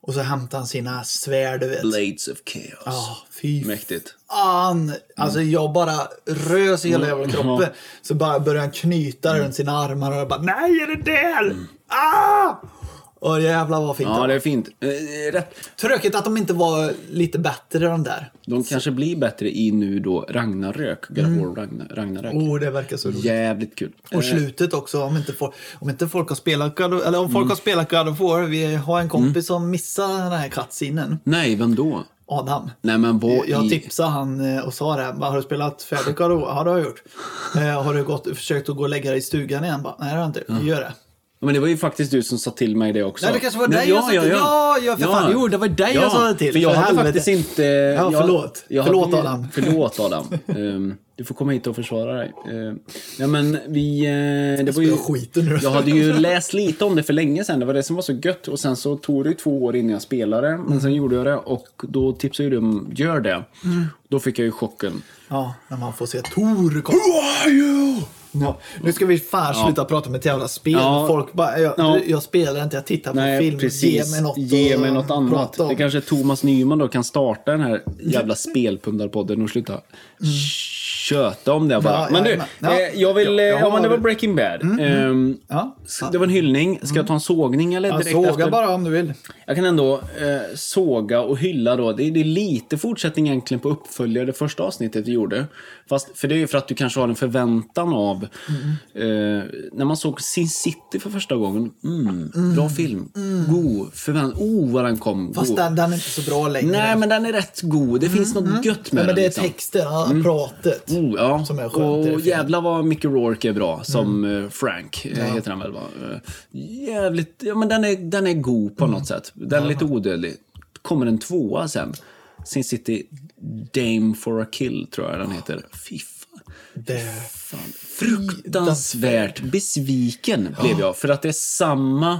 Och så hämtar han sina svärd, du vet. Blades of Chaos. Ja, fy Mäktigt. fan! Alltså Mm. jag bara rös i hela jävla kroppen. Så bara började han knyta Mm. runt sina armar och jag bara Nej, är det där? Ah! Och jävlar vad fint det Ja, var. det är fint. Eh, Rätt. Tråkigt att de inte var lite bättre de där. De kanske blir bättre i nu då Ragnarök. God of War Ragnar- Ragnarök. Mm. Oh, det verkar så roligt. Jävligt kul. Och slutet också, om inte, folk, om inte folk har spelat God of, eller om Mm. folk har spelat God of War. Vi har en kompis som missade den här cutscenen. Nej, vem då? Adam. Nej, men vad Jag i... tipsade han eh, och sa det. här, Har du spelat färdigt God of War? Ja, det har jag gjort. Eh, har du gått, försökt att gå och lägga dig i stugan igen? Bara, Nej, det har jag inte. gjort. Gör det. Ja, Men det var ju faktiskt du som sa till mig det också. Nej, det kanske var dig jag sa till. Ja, ja, för fan. Jo, det var dig jag sa det till. För jag För hade helvete. faktiskt inte... Ja, jag- förlåt. jag Förlåt, hade, Adam. Förlåt Adam. Ehm, du får komma hit och försvara dig. Ehm, nej men vi... eh, det var ju, Jag skiter nu. Jag hade ju läst lite om det för länge sedan. Det var det som var så gött. Och sen så tog det ju två år innan jag spelade. Men sen gjorde jag det och då tipsade ju du om gör det. Mm. Då fick jag ju chocken. Ja, när man får se Tor komma. Who are you? Ja. Nu ska vi fan sluta prata om ett jävla spel. Ja. Folk bara, jag, Ja. jag spelar inte, jag tittar på Nej, film. precis. Ge mig något, Ge att mig något annat. prata om. Det kanske Thomas Nyman då kan starta den här jävla spelpundarpodden och sluta köta om det bara. Ja, men du, jajamän. Ja. eh, jag vill... eh, Jag Ja, men det har- var Breaking Bad. Ehm, Ja. s- Det var en hyllning. Ska jag ta en sågning eller Ja, direkt såga efter? bara om du vill. Jag kan ändå eh, såga och hylla då. Det är, det är lite fortsättning egentligen på uppföljare, det första avsnittet vi gjorde. Fast, för det är ju för att du kanske har en förväntan av... Mm. Eh, när man såg Sin City för första gången. Mm, Bra film. God. Förväntan. Oh, vad den kom. Mm. Fast god. den, den är inte så bra längre. Nej, men den är rätt god. Det finns något gött med mm. Ja, men den. det är liksom. texterna, pratet. Oh, ja. Som är Mm. skönt i det och filmen. jävlar vad Mickey Rourke är bra som eh, Frank, eh, heter han väl va? Eh, Jävligt, ja men den är, den är god på Mm. något sätt. Den är lite odödlig. Kommer en tvåa sen. Sin City Dame for a Kill tror jag den heter. Fy fan. Det. Fan, Fruktansvärt besviken blev jag. För att det är samma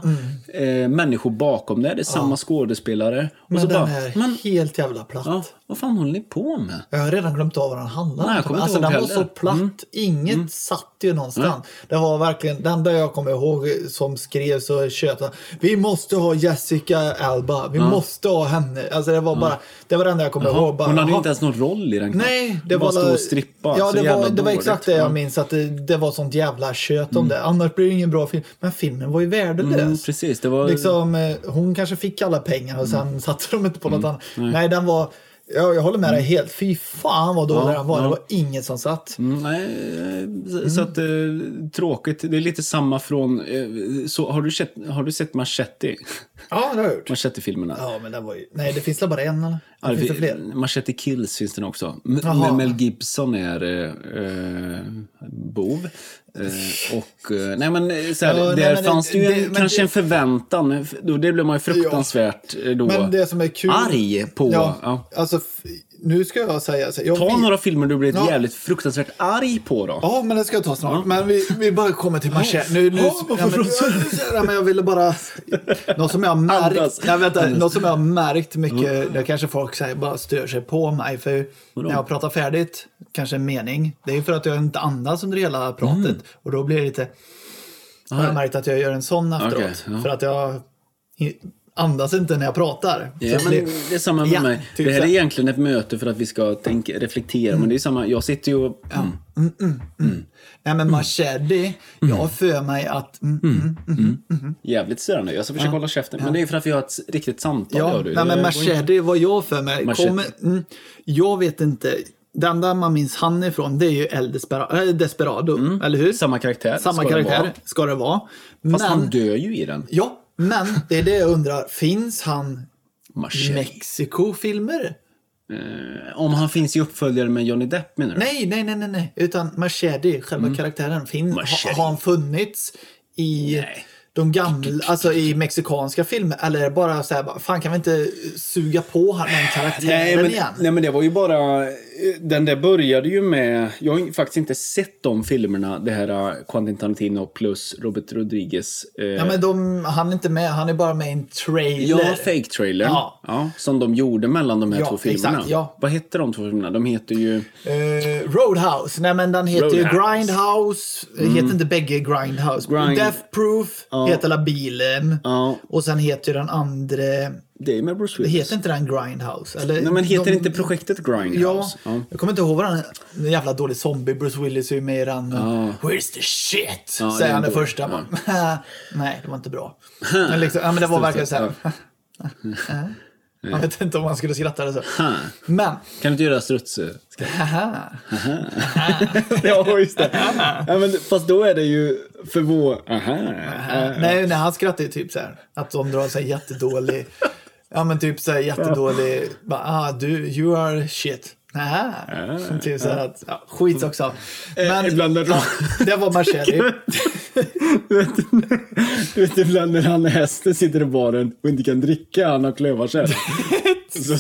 eh, människor bakom det. Det är samma skådespelare. Och så Mm. Men den bara, är men helt jävla platt. ja, vad fan håller ni på med? Jag har redan glömt av vad den handlade Nej, jag om. kommer inte Alltså ihåg den var heller. Mm. så platt. Inget satt ju någonstans. Det var verkligen det enda jag kommer ihåg som skrevs och tjöt. var, Vi måste ha Jessica Alba. Vi måste ha henne. Alltså det var bara, det var det enda jag kommer ihåg. Bara, Hon hade ju "Jaha." inte ens någon roll i den. Nej, det Hon bara var... stod och strippade. Ja, så det jävla var, det var dåligt. exakt det jag Ja, minns. Att det, det var sånt jävla kött om det. Annars blir det ingen bra film. Men filmen var ju värdelös. Mm, precis, Mm. det var... Liksom, eh, hon kanske fick alla pengar och sen satte de inte på något annat. Nej, den var... Jag, jag håller med dig helt. Fy fan vad dålig Mm. Ja, den var. ja. Det var inget som satt. Mm, nej, eh, så- så att eh, tråkigt. Det är lite samma från... Eh, så, har, du sett, har du sett Machete? Ja, det har jag gjort. Machete-filmerna? Ja, men den var ju... Nej, det finns väl bara en eller? Ja, det finns det fin- fler? Machete Kills finns den också. M- Jaha. Med Mel Gibson är eh, eh, bov. Eh, och, eh, nej men, eh, så här, Ja, där nej, men det- fanns det ju det- en, men kanske det- en förväntan. Då, det blev man ju fruktansvärt eh, då, Men det som är kul... arg på. Ja, Ja. Alltså, f- nu ska jag säga... så- Jag Ta vet- några filmer du blir Ja. jävligt fruktansvärt arg på då. Ja, men det ska jag ta snart. Men vi, vi bara kommer till machete. Nu, nu, Ja, varför ja, men, pratar ja, men jag ville bara... Något som jag har märkt, Andas. ja, vänta, något som jag har märkt mycket, det kanske folk säger, bara stör sig på mig. För när jag pratar färdigt, kanske en mening, det är för att jag inte andas under hela pratet. Mm. Och då blir det lite... Jag har märkt att jag gör en sån efteråt. Ah. Okej, ja. För att jag andas inte när jag pratar. Så Ja, det men blir- det är samma med Ja, mig. typ det här så Mm. är här. egentligen ett möte för att vi ska tänka, reflektera. Men det är samma, jag sitter ju och... Mm. Nej, men machete, jag har för mig att... Mm, mm, Jävligt störande. Jag ska försöka hålla käften. Men det är för att vi har ett s- riktigt samtal. Ja, gör du. nej, men Det- Machete var jag för mig. Machete. Kommer, mm, jag vet inte. Det enda man minns han ifrån det är ju El Despera- äh, Desperado, eller hur? Mm, Samma karaktär. ska Samma det karaktär vara. ska det vara. Fast men, han dör ju i den. ja, men det är det jag undrar. Finns han i Machete. Mexiko-filmer? Om han finns i uppföljare med Johnny Depp menar du? Nej, nej, nej, nej, nej. Utan Machete, själva karaktären, fin, ha, Mm. Machete. har han funnits i Nej. de gamla, alltså i mexikanska filmer? Eller är det bara så här, bara, fan kan vi inte suga på han- den karaktären Nej men, igen? nej men det var ju bara... eh, Den där började ju med... Jag har ju faktiskt inte sett de filmerna. Det här eh, Quentin Tarantino plus Robert Rodriguez. eh, Ja, men de, han är inte med, han är bara med i en trailer. Ja, fake-trailern. Ja. Ja. som de gjorde mellan de här Ja, två filmerna. exakt, ja. Vad hette de två filmerna? De heter ju... Eh, Roadhouse, nej men den heter ju Roadhouse. Mm. Grindhouse, heter inte bägge Grindhouse? Grind- Death Proof heter hela bilen. Ja. Och sen heter ju den andra Det är ju med Bruce Willis. Heter inte den Grindhouse? Eller, Nej, men heter de- inte projektet Ja, Grindhouse? jag kommer inte ihåg vad den en jävla dålig zombie Bruce Willis är ju med i den. Where's the shit? Ja, det är säger han den dålig. första. Man, Nej, det var inte bra. Men, liksom, ja, men det var verkligen så här. Jag vet inte om man skulle skratta eller så. Men, Ah, Kan du inte göra strutse? haha. ja, just det. ja, men, fast då är det ju förvå... Aha. eh, Nej, nej, han skrattar ju typ så här. Att de drar så här jättedålig... Ja, men typ så här jättedålig... Bara, ah, du, you are shit. Aha. Eh. Typ så här att... Ja, skit också. Men, ibland när de- ja, det var Marcelli. Du vet, du vet ibland när han hästen sitter i baren och inte kan dricka, han har klövarskäll. så,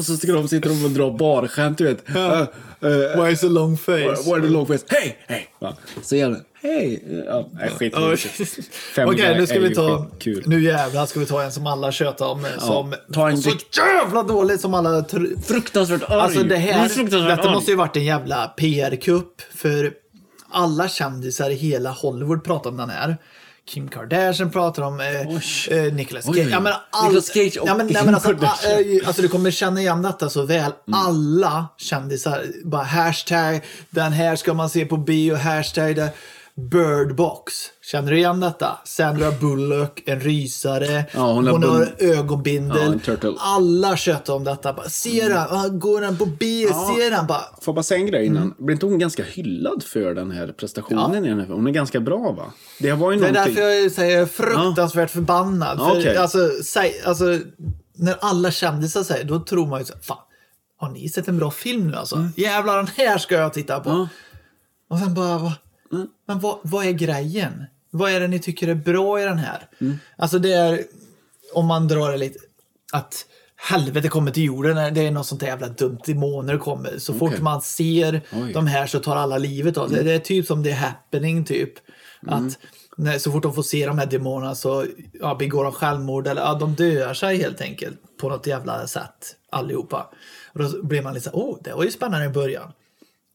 och så ska de sitta och dra barskämt, du vet. Ja. Eh, eh, Why is a long face? Why the long face? Hej! Hej! Ja. Så gärna. Hej! Ja, nej, skit i Ja. det. Fem Okej, guy nu ska är vi ju ta... skitkul. Nu jävlar ska vi ta en som alla tjötar om. Som, ta en så dikt- jävla dålig som alla... Tr- Fruktansvärt arg! Alltså det Du är här, fruktansvärt detta arg. måste ju varit en jävla PR-kupp för alla kändisar i hela Hollywood pratar om den här. Kim Kardashian pratar om Oj. eh, eh, Nicolas Oj, Cage. oj. Ja, men all, Nicolas Cage och ja, men, nej, Kim men alltså, Kardashian. Mm. a- eh, alltså, du kommer känna igen detta så väl. Alla kändisar, bara hashtag, den här ska man se på bio, hashtag det. Bird box. Känner du igen detta? Sandra Bullock, en rysare. Ja, hon hon har har, bun- ögonbindel. Ja, en turtle. Alla tjötar om detta. Bara, ser han? Ah, Går han på B? Ser han? Bara, Får jag bara säga en grej innan? Mm. Blir inte hon ganska hyllad för den här prestationen? I den här? Hon är ganska bra va? Det var ju det är någonting. därför jag säger fruktansvärt förbannad. För, Okej. alltså, säg, alltså, när alla kändisar säger då tror man ju så här, fan, har ni sett en bra film nu alltså? Mm. Jävlar, den här ska jag titta på. Ja. Och sen bara, va, Mm. men vad, vad är grejen? Vad är det ni tycker är bra i den här? Mm. Alltså det är, om man drar det lite, att helvete kommer till jorden, det är något sånt där jävla dumt, demoner kommer. Så fort Okej. man ser Oj. Mm. de här så tar alla livet av sig. Det är typ som det är happening typ. Att när, så fort de får se de här demonerna så ja, begår de självmord eller ja, de dör sig helt enkelt på något jävla sätt allihopa. Och då blir man lite så här, åh, det var ju spännande i början.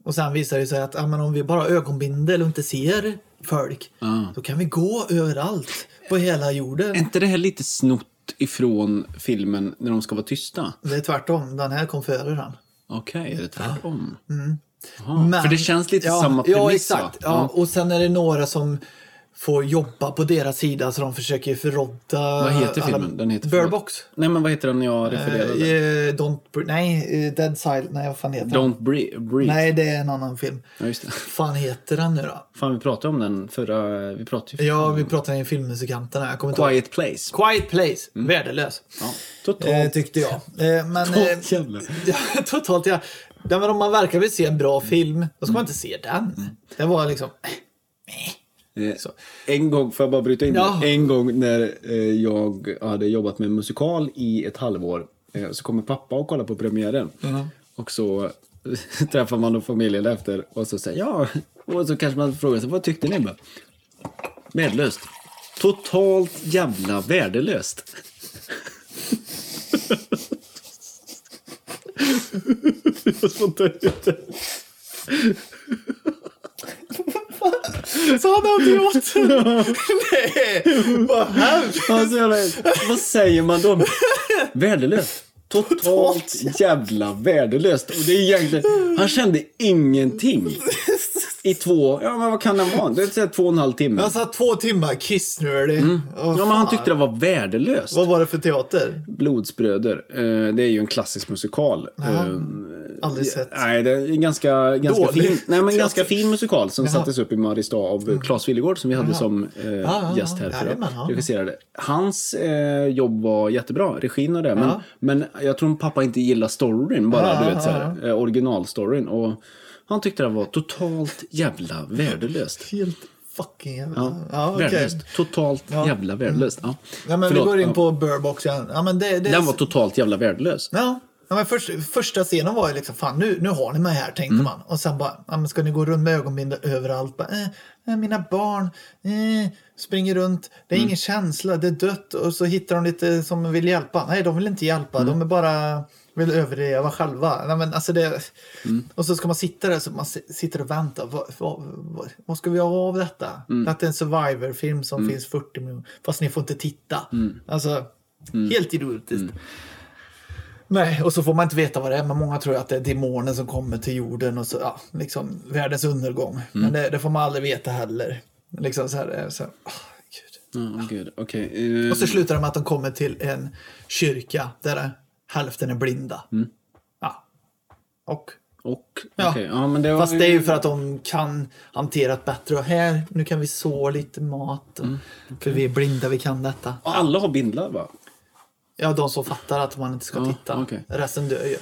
Och sen visar det sig att ja, men om vi bara har ögonbindel och inte ser folk, då kan vi gå överallt på hela jorden. Är inte det här lite snott ifrån filmen när de ska vara tysta? Det är tvärtom, den här kom före den. Okej, är det tvärtom? Mm. Men- för det känns lite ja, samma Ja, premiss, va? exakt. Ja, Ja. och sen är det några som får jobba på deras sida så de försöker förrådda... Vad heter filmen? Den heter Bird förlåt. Box. Nej, men vad heter den jag Eh, refererade? eh, don't... Bre- Nej, eh, Dead Silent. Nej, vad fan heter den? Don't Bre- breathe. Nej, det är en annan film. Ja, just det. fan heter den nu då? Fan, vi pratade om den förra... Vi pratade ju... Ja, vi pratade i filmmusikanterna. Jag kommer inte ihåg. Mm. Quiet Mm. Place. Quiet Place. Värdelös. Ja, totalt. Eh, tyckte jag. Eh, men... eh, Totalt jävla. Ja, Totalt ja. Nej, men om man verkar vill se en bra film, då ska man inte se den. Det var liksom... Eh, En gång, får jag bara bryta in Ja. det? En gång när eh, jag hade jobbat med en musikal i ett halvår eh, så kommer pappa och kollar på premiären. Och så träffar man då familjen efter och så säger ja, och så kanske man frågar sig vad tyckte ni? Bara, Värdelöst. Totalt jävla värdelöst. jag spottar ut det. Sa han idioten? Nej, vad hemskt! Alltså, jävla, vad säger man då? Värdelöst. Totalt jävla värdelöst. Och det är egentligen, han kände ingenting. I två, ja men vad kan han vara? Det är så här två och en halv timme. Jag satt två timmar kissnödig. Åh, Mm. Ja men han fan. tyckte det var värdelöst. Vad var det för teater? Blodsbröder, eh, det är ju en klassisk musikal. Eh, Aldrig sett. Nej, det är en ganska, ganska, Dålig. fin, nej, men ganska fin musikal som Jaha. Mm. sattes upp i Mariestad av Claes Willegård som vi hade som eh, ja, gäst här ja, förra. jajamän, ja. Regisserade. Hans eh, jobb var jättebra, regin och det. Men, Ja. men jag tror pappa inte gillar storyn, bara Ja, du ja, vet, så här, eh, originalstoryn. Och han tyckte det var totalt jävla värdelöst. Helt fucking jävla... Ja, Ja, okej. värdelöst. Totalt jävla värdelöst. Ja. Ja, men Förlåt. vi går in Ja. på Burbox igen. Ja, men det, det... Den var totalt jävla värdelös. Ja. Ja, men först, första scenen var ju liksom, fan nu, nu har ni mig här, tänkte man. Och sen bara, ja, men ska ni gå runt med ögonbindel överallt? Bara, eh, eh, mina barn eh, springer runt, det är ingen känsla, det är dött. Och så hittar de lite som vill hjälpa. Nej, de vill inte hjälpa, de är bara vill överleva själva. Nej, men alltså det, Och så ska man sitta där, så man si- sitter och väntar. Vad, vad, vad, vad ska vi ha av detta? Att det är en survivor-film som finns 40 miljoner, fast ni får inte titta. Alltså, Helt idiotiskt. Nej, och så får man inte veta vad det är, men många tror att det är demonen som kommer till jorden och så, ja, liksom världens undergång. Men det, det får man aldrig veta heller. Liksom så här, det är så här, ah, gud. Ja, oh, gud. Okej. eh, Och så slutar det med att de kommer till en kyrka där hälften är blinda. Ja. Och? och? Ja. okej. Ja, men det var Fast det är ju för att de kan hantera det bättre. Och här, nu kan vi så lite mat. Och, För vi är blinda, vi kan detta. Och alla har bindlar, va? Ja, de som fattar att man inte ska Ja, titta. okej. Mm. Resten dör ju.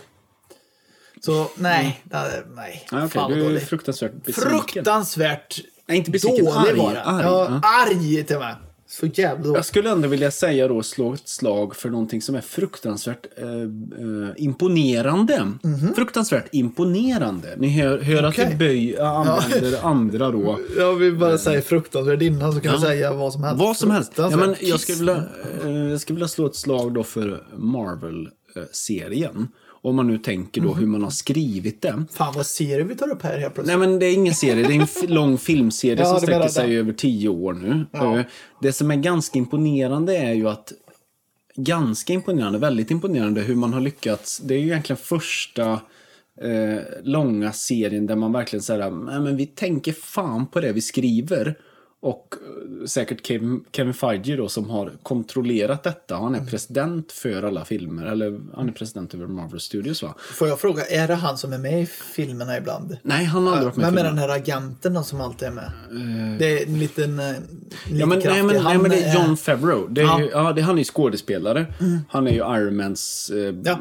Så nej, nej, nej. Ja, okej, Fan vad du är dålig. fruktansvärt besviken. Fruktansvärt Nej, inte besviken. Arg, var den. arg, ja, ja. arg till och med. Så jävla dålig. Jag skulle ändå vilja säga då, slå ett slag för någonting som är fruktansvärt eh, eh, imponerande. Fruktansvärt imponerande. Ni hör, hör att Mhm. Okej. jag böj, jag använder andra då. Jag vill bara säga fruktansvärd innan så kan jag säga Mm. vad som helst. Vad som helst. Ja, men Fruktansvärt jag, skulle vilja, eh, jag skulle vilja slå ett slag då för Marvel-serien. Om man nu tänker Mhm. då hur man har skrivit det. Fan vad serier vi tar upp här helt plötsligt. Nej, men det är ingen serie. Det är en f- lång filmserie Ja, som du menar sträcker sig det. över tio år nu. Eh, Det som är ganska imponerande är ju att Ganska imponerande, väldigt imponerande hur man har lyckats. Det är ju egentligen första eh, långa serien där man verkligen säger nej men vi tänker fan på det vi skriver. Och eh, säkert Kevin, Kevin Feige då som har kontrollerat detta. Han Mm. är president för alla filmer, eller han är president över Marvel Studios va? Får jag fråga, är det han som är med i filmerna ibland? Nej, han har aldrig varit med i Vem är filmen. den här agenten då som alltid är med? Det är en liten, eh, liten Ja, men, nej, kraftig. men, nej, Han men det är är- John Favreau. Det är Ja. Ju, ja, det, han är ju skådespelare. Han är ju Iron Mans... Eh, Ja. But,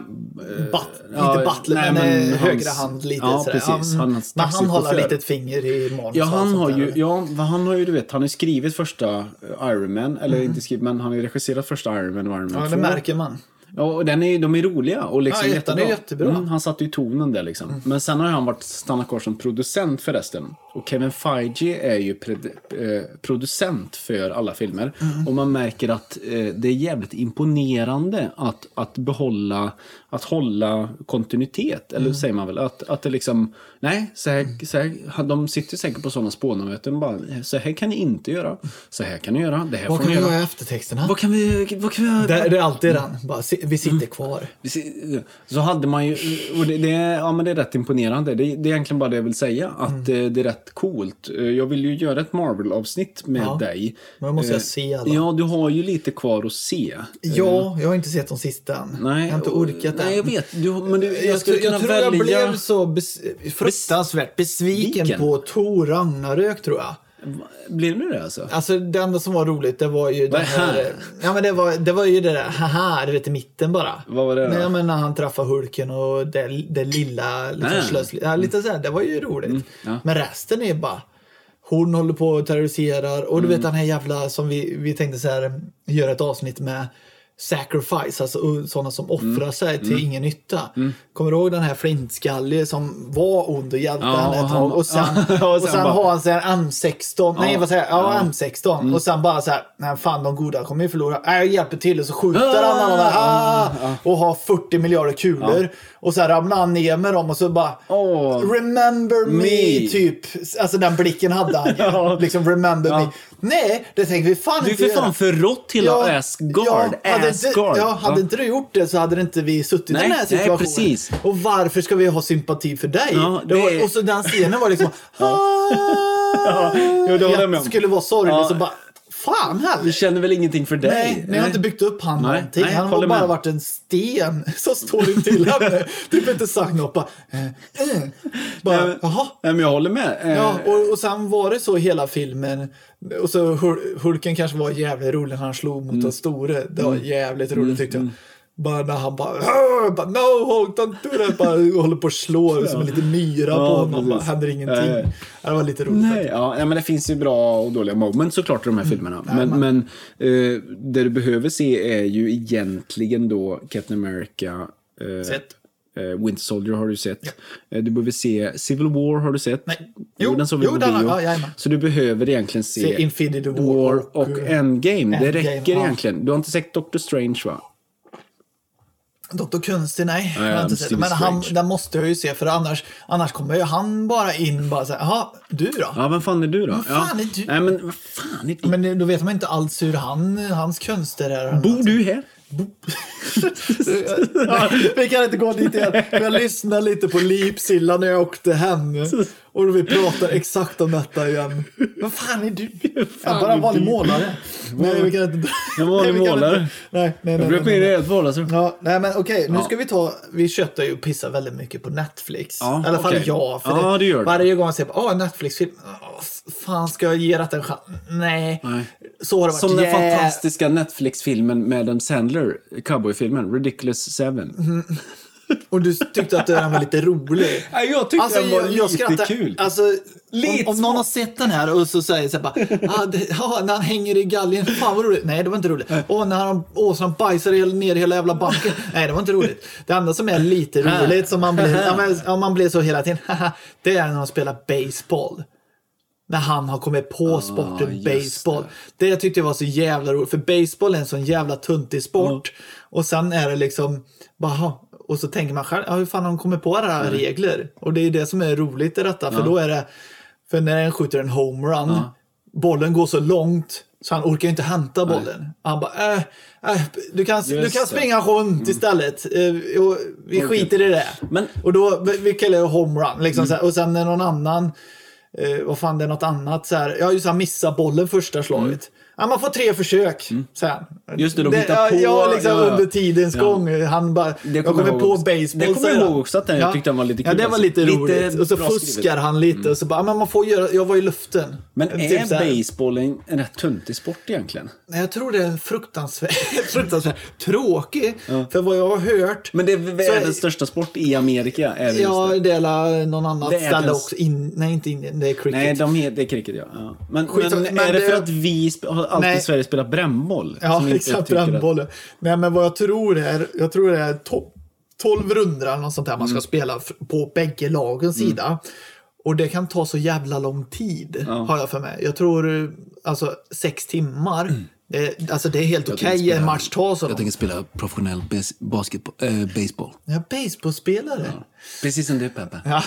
ja, inte butler, nej, men, men eh, hans- högra hand lite. ja, sådär. precis. Han är hans men han taxichaufför. håller ett litet finger i manus. ja, och han sånt har där, ju, eller? ja, vad han har ju, du vet, han har ju skrivit första eh, Iron Man, eller inte skrivit, men han har ju regisserat första Iron Man och Iron Man Ja, det 2. märker man. Ja, och den är, de är roliga och liksom Ja, ettan är jättebra. Mm, han satte ju tonen där liksom. Men sen har han varit stannat kvar som producent för resten. Och Kevin Feige är ju pred- eh, producent för alla filmer. Och man märker att eh, det är jävligt imponerande att, att behålla, att hålla kontinuitet. Eller säger man väl? Att, att det liksom, nej, så här, så här, de sitter säkert på sådana spånamöten och bara, så här kan ni inte göra. Så här kan ni göra, det här Vad får kan ni vi göra göra. i eftertexterna? Vad kan vi, vad kan vi göra? Det, det är alltid den. Mm. Bara, si- vi sitter kvar. Eh. Så hade man ju, och det, det, är- ja, men det är rätt imponerande. Det, det är egentligen bara det jag vill säga, att Mm. eh, det är rätt coolt. Eh, Jag vill ju göra ett Marvel-avsnitt med Ja. dig. Men då måste Eh, jag se alla. Ja, du har ju lite kvar att se. Ja, jag har inte sett de sista än. Nej, jag har inte och- orkat än. Nej, jag vet. Du, men du, jag, Jag, skulle tror- kunna jag tror jag välja... blev så bes, fruktansvärt besviken Viken. på Tor Ragnarök, tror jag. Blev du det alltså? Alltså det enda som var roligt det var ju den här? här... Ja, men det, var, det var ju det där haha, du vet i mitten bara. Vad var det då? Nej, men när han träffade Hulken och det, det lilla Nej. liksom, slösliga. Ja, lite så här, det var ju roligt. Ah. Mm, ja. Men resten är bara... Hon håller på och terroriserar och du Mm. vet den här jävla som vi, vi tänkte så här göra ett avsnitt med sacrifice, alltså och sådana som offrar Mm, sig till ingen nytta. Kommer du ihåg den här flintskallige som var ond och hjälpte Ja, henne och ett han- tag och sen, Ja, och och sen sen, bara- har han så här M16, nej vad säger jag, ja, Ja. Mm. M16 och sen bara så här, nej fan de goda kommer ju förlora, nej jag hjälper till och så skjuter han alla där, Mm, ah, och har 40 miljarder kulor och sen ramlar han ner med dem och så bara Åh. Remember me, Me. typ. Alltså den blicken hade han ju. Ja. Liksom remember Ja. me. Nej, det tänker vi fan Du är inte för fan för rått till ja, Asgard. Ja, hade, inte, Asgard. ja, hade Ja. inte du gjort det så hade det inte vi suttit Nej, i den här nej, situationen. precis. Och varför ska vi ha sympati för dig? Ja, det... det är- var, och så den scenen var liksom... ja. jo, det håller jag med om. skulle vara sorglig Ja. så bara... Fan Du heller. känner väl ingenting för dig? Nej, ni har inte byggt upp han Nej, någonting. nej, han har håller bara med. varit en sten som står intill henne. Typ inte sagt något. Bara, eh, eh. bara Nej, jaha. Nej, men jag håller med. Eh, Ja, och, och sen var det så hela filmen. Och så Hul- Hulken kanske var jävligt rolig när han slog Mm. mot den store. Det var jävligt roligt tyckte jag. Bara när han bara, "Åh!" bara no Hulk, don't do that. Bara håller på och slår som en liten myra på Ja, honom. Bara, precis. händer ingenting. Eh. Ja, Det var lite roligt. Nej, ja, ja, men det finns ju bra och dåliga moments såklart i de här Mm. filmerna. Men, men eh, det du behöver se är ju egentligen då Captain America. Eh, Sett. eh, Winter Soldier har du sett. Eh, du behöver se Civil War har du sett. Nej. Jo, Jo, den såg vi jo, på den har- bio. ja, jajamän. Så du behöver egentligen se, Se Infinity War War och, och, eh, Endgame. Det Endgame, räcker ja. egentligen. Du har inte sett Doctor Strange va? Dr. Kunstig, nej. Nej, jag har I'm inte sett. det. Stephen Men han, Strange. den måste jag ju se för annars, annars kommer ju han bara in bara så här, jaha, du då? Ja, vem fan är du då? Vad fan ja. är du? Nej, men vad fan är du? Men då vet man inte alls hur han, hans konster är. Bor du här? Boop. ja, vi kan inte gå dit igen. för Jag lyssnade lite på Lipsilla när jag åkte hem. Och vi pratar exakt om detta igen. Vad fan är du? Jag är bara en typ. vanlig målare. Nej, vi kan inte... En vanlig Nej, vi kan målare. inte- Nej, nej, Jag nej. blev nej, på nej. det helt vanligt. Ja, nej men okej, nu Ja. ska vi ta, vi köttar ju och pissar väldigt mycket på Netflix. Ja, I alla fall okej. jag. För Ja, det gör du. Varje gång jag ser på, åh, en Netflix-film, åh, fan ska jag ge det en chans? Nej. Nej. Så har det varit. Som den jä- fantastiska Netflix-filmen med Adam Sandler, cowboyfilmen, Ridiculous Seven. Och du tyckte att den var lite rolig. Ja, jag tyckte den var lite Alltså, skrattar- kul. Alltså, Lite om, om någon smart. har sett den här och så säger så här bara, ah, det, ja, när han hänger i galgen, fan vad roligt. Nej, det var inte roligt. Och när han, åsnan bajsar hel- ner hela jävla banken. Nej, det var inte roligt. Det enda som är lite roligt, som man blir, ja, men, ja, man blir så hela tiden, haha, det är när de spelar baseball. När han har kommit på sporten Ah, just baseball. Det. tyckte jag var så jävla roligt. För baseball är en sån jävla tuntig sport. Och sen är det liksom, bara, och så tänker man själv, ja, hur fan har de kommit på alla Mm. regler? Och det är ju det som är roligt i detta. För då är det, för när en skjuter en homerun, bollen går så långt så han orkar ju inte hämta bollen. Han bara, äh, äh, du kan, du Just kan det. springa runt istället. Eh, och vi skiter i det. Mm. Men- Mm. Och då, vi- vi kallar det homerun. Liksom, så här. Och sen när någon annan eh, vad fan det är något annat så här. Ja, just han missar bollen första slaget. Ja, man får tre försök sen. Mm. Just det, de hittar ja, på- Ja, liksom ja, ja. under tidens Ja. gång. eh, Han bara, jag kommer kommer jag på ihåg också. baseball. Det kommer jag säger ihåg han. också att den- jag tyckte den var lite Ja, kul det var alltså. lite Lite roligt. Och så bra fuskar skrivet. Mm. han lite och så bara, ja, men man får göra, jag var i luften. Men Typ är så här. baseball en, en rätt töntig sport egentligen? Nej, jag tror det är en fruktansvärd, fruktansvärd tråkig. För vad jag har hört. Men det är världens största sport i Amerika. Är det just Ja, det. det är la- någon annat Världens- ställe också. In, nej, inte Indien. Det är cricket. Nej, de är, det är cricket ja. ja. Men, Skit- men, men är det det- för att vi sp- har alltid Nej. i Sverige spelat brännboll? Ja, som inte exakt. tycker att- Brännbollen. Nej, men vad jag tror är, jag tror det är to- 12 runder eller något sånt där man Mm. ska spela f- på bägge lagens sida. Och det kan ta så jävla lång tid, har jag för mig. Jag tror eh, alltså sex timmar. Mm. Det, alltså det är helt okej en match tar så lång. spela professionell bas- basketboll, eh, baseball. Jag är baseballspelare. Precis som du Peppe. Ja.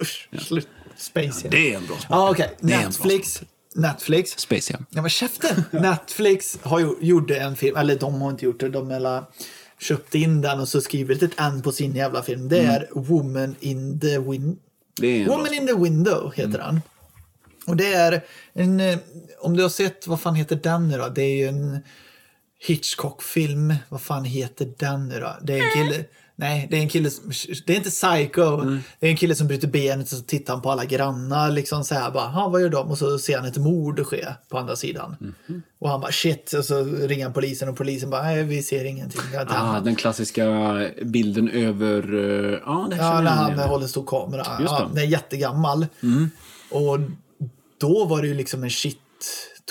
Usch, slut. Space Jam. är en bra sport. Ja, okej. är en bra Netflix. Netflix. Space Jam. Ja men käften! Netflix har ju, gjorde en film, eller de har inte gjort det, de har köpt in den och så skrivit ett N på sin jävla film. Mm. Det är Woman in the Win... Det är en bra Woman in the Window heter den. Och det är en, eh, om du har sett, vad fan heter den nu då? Det är ju en Hitchcock-film. Vad fan heter den nu då? Det är en kille, nej, det är en kille som, det är inte Psycho. Det är en kille som bryter benet och så tittar han på alla grannar liksom så här bara, "Ha, vad gör de? Och så ser han ett mord ske på andra sidan. Och han bara shit, och så ringer han polisen och polisen bara, nej vi ser ingenting. Det är inte han." Ah, den klassiska bilden över... eh, Ja, det Ja, här när känner han jag igen. håller stor kamera. Just Ja, det. Mm. den är jättegammal. Och då var det ju liksom en shit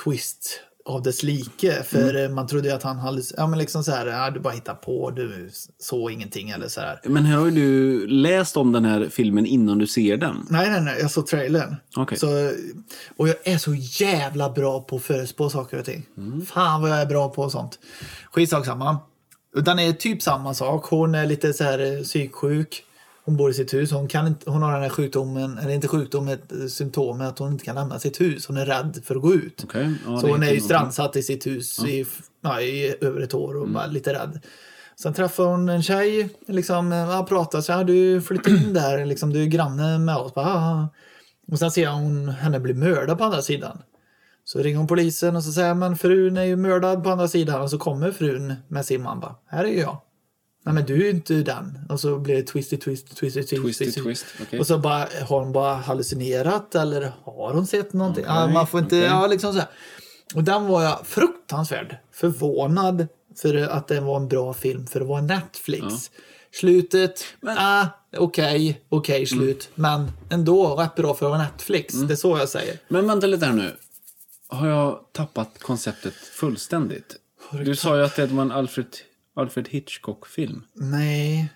twist av dess like. För Mm. eh, man trodde ju att han hade... Ja, men liksom så här, ja, du bara hittar på, du såg ingenting eller så här. Men här har ju du läst om den här filmen innan du ser den. Nej, nej, nej, jag såg trailern. Okej. Så, och jag är så jävla bra på att förutspå saker och ting. Mm. Fan vad jag är bra på sånt. Skitsak samma. Den är typ samma sak. Hon är lite så här eh, psyksjuk. Hon bor i sitt hus. Hon, kan inte, hon har den här sjukdomen, eller inte sjukdomen, ett, eh, symptomet att hon inte kan lämna sitt hus. Hon är rädd för att gå ut. Okej, ja, så det hon är heter ju något. strandsatt i sitt hus i, f- ja, i över ett år Mm. och bara lite rädd. Sen träffar hon en tjej, liksom, ja, pratar så här, du flyttar in där, liksom, du är granne med oss. Bara, "Ah." och sen ser hon henne bli mördad på andra sidan. Så ringer hon polisen och så säger men frun är ju mördad på andra sidan och så kommer frun med sin man bara, här är ju jag. Nej men du är ju inte den. Och så blir det twisty, twisty, twisty, twisty. Twisty, twist, okej. Och så bara, har hon bara hallucinerat eller har hon sett någonting? Ja, Okej, man får inte, okej. ja liksom så här. Och den var jag fruktansvärt förvånad för att den var en bra film för att vara Netflix. Slutet, ah, okej, okej slut. Men ändå rätt bra för att vara Netflix. Det är så jag säger. Men vänta lite här nu. Har jag tappat konceptet fullständigt? Du sa ju att det var en Alfred, Alfred Hitchcock-film. Nej.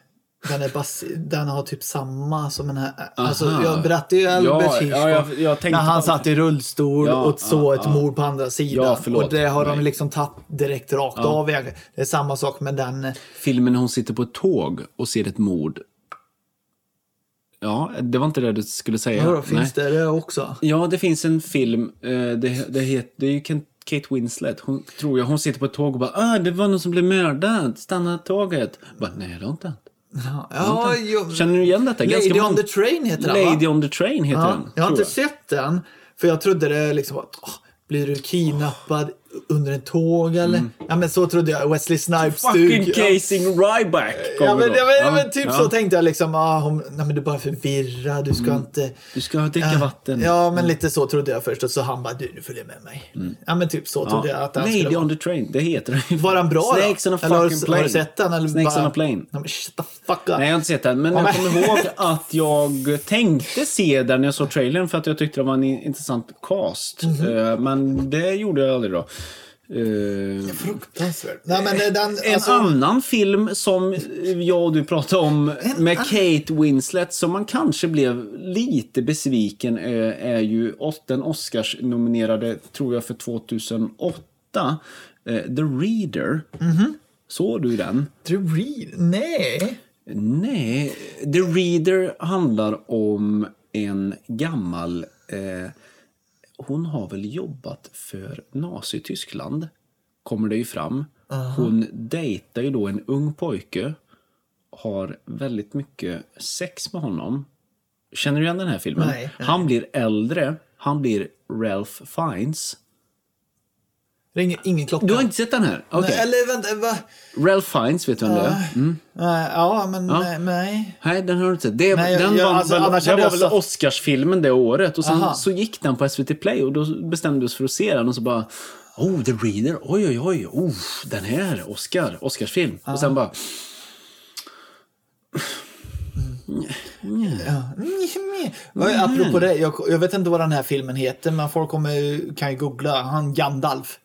Den, är bas- den har typ samma som den här. Alltså, Aha. jag berättade ju Albert Ja, Hitchcock. ja, jag- jag tänkte när han på- satt i rullstol Ja, och så ja, ett ja. mord på andra sidan. Ja, förlåt. och det har de Nej. liksom tagit direkt rakt av. egentligen. Det är samma sak med den. Filmen när hon sitter på ett tåg och ser ett mord. Ja, det var inte det du skulle säga. Ja, då Nej. finns det det också? Ja, det finns en film. eh, Det, det, het, det är ju Ken- Kate Winslet, hon tror jag, hon sitter på ett tåg och bara ah, det var någon som blev mördad, stanna tåget. Jag Bara, Nej, det har inte hänt. Ja, ja, jo. Känner du igen detta? Lady Ganska on många- the Train heter den, va? Lady on the Train heter Ja, den. jag har tror inte sett den, för jag trodde det liksom var, åh, blir du kidnappad under en tåg eller? Ja, men så trodde jag. Wesley Mm. Fucking Snipes-duk. Ja. Casing Ryback Ja, men, då. ja, men, ja, men typ ja. så tänkte jag liksom. Ah, hon, nej, men du är bara förvirrad. Du ska inte... eh, Du ska Mm. dricka Äh, vatten. Mm. Ja, men lite så trodde jag först. Och så han bara, du, du följer med mig. Ja, men typ så trodde jag att han skulle Lady vara. on the Train, Mm. det heter den ju. Var han bra då? Snakes on a Eller har, fucking du- har plane. du sett den? Eller Snakes bara... on a plane. Nej, men shut the fuck up. Nej, jag har inte sett den. Men Ja, jag men- kommer ihåg att jag tänkte se den när jag såg trailern för att jag tyckte det var en in- intressant cast. Mhm. Eh, Men det gjorde jag aldrig då. Eh, Fruktansvärt. Nej, men eh, den... En alltså- annan film som jag och du pratade om med Kate Winslet som man kanske blev lite besviken eh, är ju os- den Oscars-nominerade, tror jag, för 2008. eh, The Reader. Mhm. Såg du den? Drew Reed? Nej. Nej, The Reader handlar om en gammal... Eh, hon har väl jobbat för Nazityskland, kommer det ju fram. Hon dejtar ju då en ung pojke, har väldigt mycket sex med honom. Känner du igen den här filmen? Nej, nej. Han blir äldre, han blir Ralph Fiennes. Ringer ingen klocka. Du har inte sett den här? Okej. Nej, Eller vänta, va? Ralph Fiennes, vet du vem det är? Nej, ja, men nej. nej. Nej, den har du inte sett. Det, Nej, jag- den jag- vann alltså, väl, annars det hade var jag väl satt- Oscarsfilmen det året. Och sen Aha. så gick den på SVT Play och då bestämde vi oss för att se den och så bara Oh, The Reader. Oj, oj, oj. Oh, den här. Oscar. Oscarsfilm. Och sen bara... Ja. Mm. Mm. Apropå det, jag, jag vet inte vad den här filmen heter, men folk kommer, ju- kan ju googla. Han Gandalf.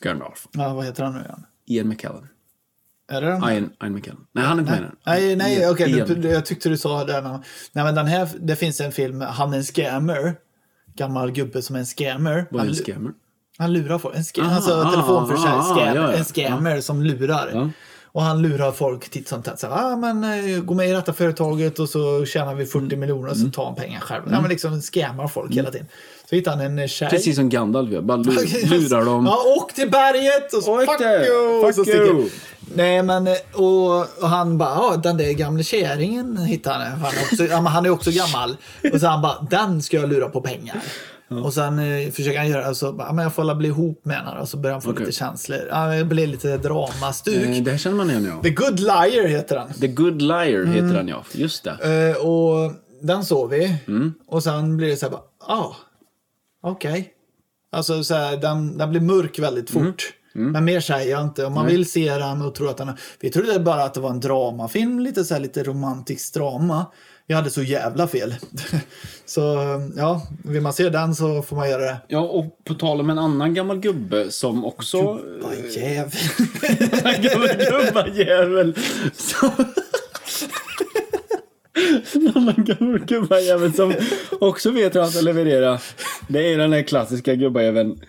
Gandalf. Ja, vad heter han nu igen? Ian McKellen. Är det den? Ian, Ian McKellen. Nej, han är inte med i den. Nej, nej, okej. Ian. du- jag tyckte du sa den. Nej, men den här, det finns en film, Han är en scammer. Gammal gubbe som är en scammer. Vad är Han, en lu- scammer? han lurar folk. En scam, Aha, alltså ah, telefonförsäljare. ah, scam, ja, ja. En scammer som lurar. Ja. Och han lurar folk titt som tätt. Så här, ah, men, eh, gå med i detta företaget och så tjänar vi Mm. 40 miljoner och så tar han pengar själv. Ja, men liksom scammar folk hela tiden. Så hittar han en eh, tjej. Precis som Gandalf gör. Bara lur, lurar dem. Ja, åk till berget och så Åk fuck där, you! fuck och så sticker- you. Nej, men eh, och, och han bara, ja den där gamle kärringen hittade han. Han är, också, ja, men han är också gammal. Och så han bara, den ska jag lura på pengar. Och sen eh, försöker han göra, så bara, ja, men jag får alla bli ihop med henne och så börjar han få lite känslor. Ja, det blir lite dramastuk. Eh, Det här känner man igen, ja. The Good Liar heter den. The Good Liar heter den, ja. Just det. Eh, och den såg vi. Och sen blir det så här bara, ja, ah, okej. Alltså så här, den, den blir mörk väldigt fort. Men mer säger jag inte. Om man vill se den och tror att den... Vi trodde bara att det var en dramafilm, lite så här, lite romantisk drama. Vi hade så jävla fel. så ja, vill man se den så får man göra det. Ja, och på tal om en annan gammal gubbe som också... Vad jävlar. Gubbajävel. Som... Någon gubbajävel som också vet hur han ska leverera. Det är den här klassiska gubbajäveln.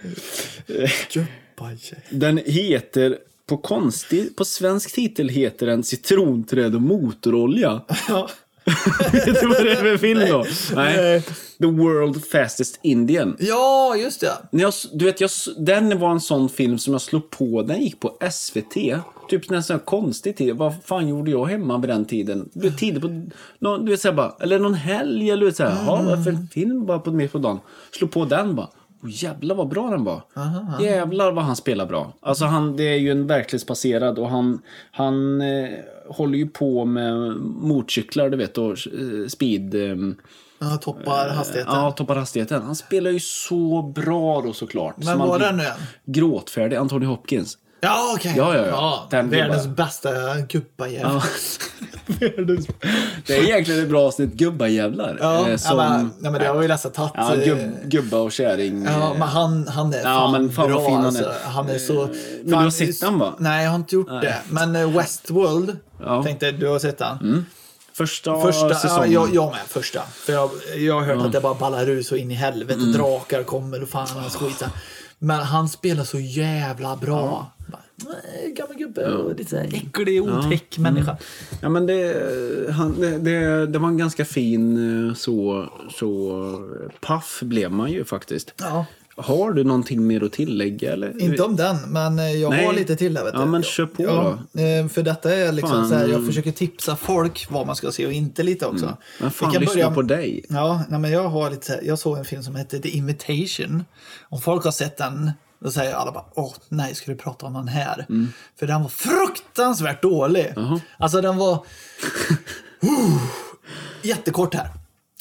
Den heter, på konstig, på svensk titel heter den Citronträd och motorolja. Ja. vet du vad det är för film då? Nej. Nej. The World Fastest Indian. ja, just det. När jag, du vet, jag, den var en sån film som jag slog på. Den gick på SVT. Typ en sån här konstig tid. Vad fan gjorde jag hemma vid den tiden? Du vet, tider på... Någon, du vet, så här, bara, eller någon helg eller du vet, så här. Mm. Varför en film bara på, mitt på dagen? Slog på den bara. Oh, jävlar vad bra den var. Jävlar vad han spelar bra. Alltså han, det är ju en verklighetsbaserad och han, han eh, håller ju på med motorcyklar du vet och eh, speed... Eh, Ja, toppar hastigheten. Ja, toppar hastigheten. Han spelar ju så bra då såklart. Men var den nu än? Gråtfärdig Anthony Hopkins. Ja, okej. Ja, ja, ja. Den blir världens bara- bästa gubbajävel. Världens- Det är egentligen ett bra avsnitt, gubbajävlar. Ja, eh, ja, som, men, nej, men det har vi nästan tagit. ja, eh, gubb, gubba och kärring. ja, eh, men han, han är fan, men fan vad bra. fin han är. alltså. han är så... du har sett den, va? Nej, jag har inte gjort det. Men eh, Westworld, Ja. tänkte du har sett den. första, Första, ja, säsongen. jag, jag med, första. För jag, jag har hört att det bara ballar ur så in i helvete. Mm. Drakar kommer och fan hans skit. Men han spelar så jävla bra. Bara, nej, Gammal gubbe och lite så här äcklig, otäck Mm. människa. Ja, men det, han, det, det, det var en ganska fin eh, så, så... Paff blev man ju faktiskt. Ja. Har du någonting mer att tillägga? Eller? Inte om den, men eh, jag Nej. har lite till där. Vet du. Ja, men kör på då. För detta är liksom Fan. så här, jag försöker tipsa folk vad man ska se och inte lite också. Men fan, Vi kan lyssna börja- på dig. Ja, nej, men jag, har lite, så här- jag såg en film som hette The Invitation. Om folk har sett den, då säger alla bara åh nej, ska du prata om den här? Mm. För den var fruktansvärt dålig. Alltså den var Uh, jättekort här.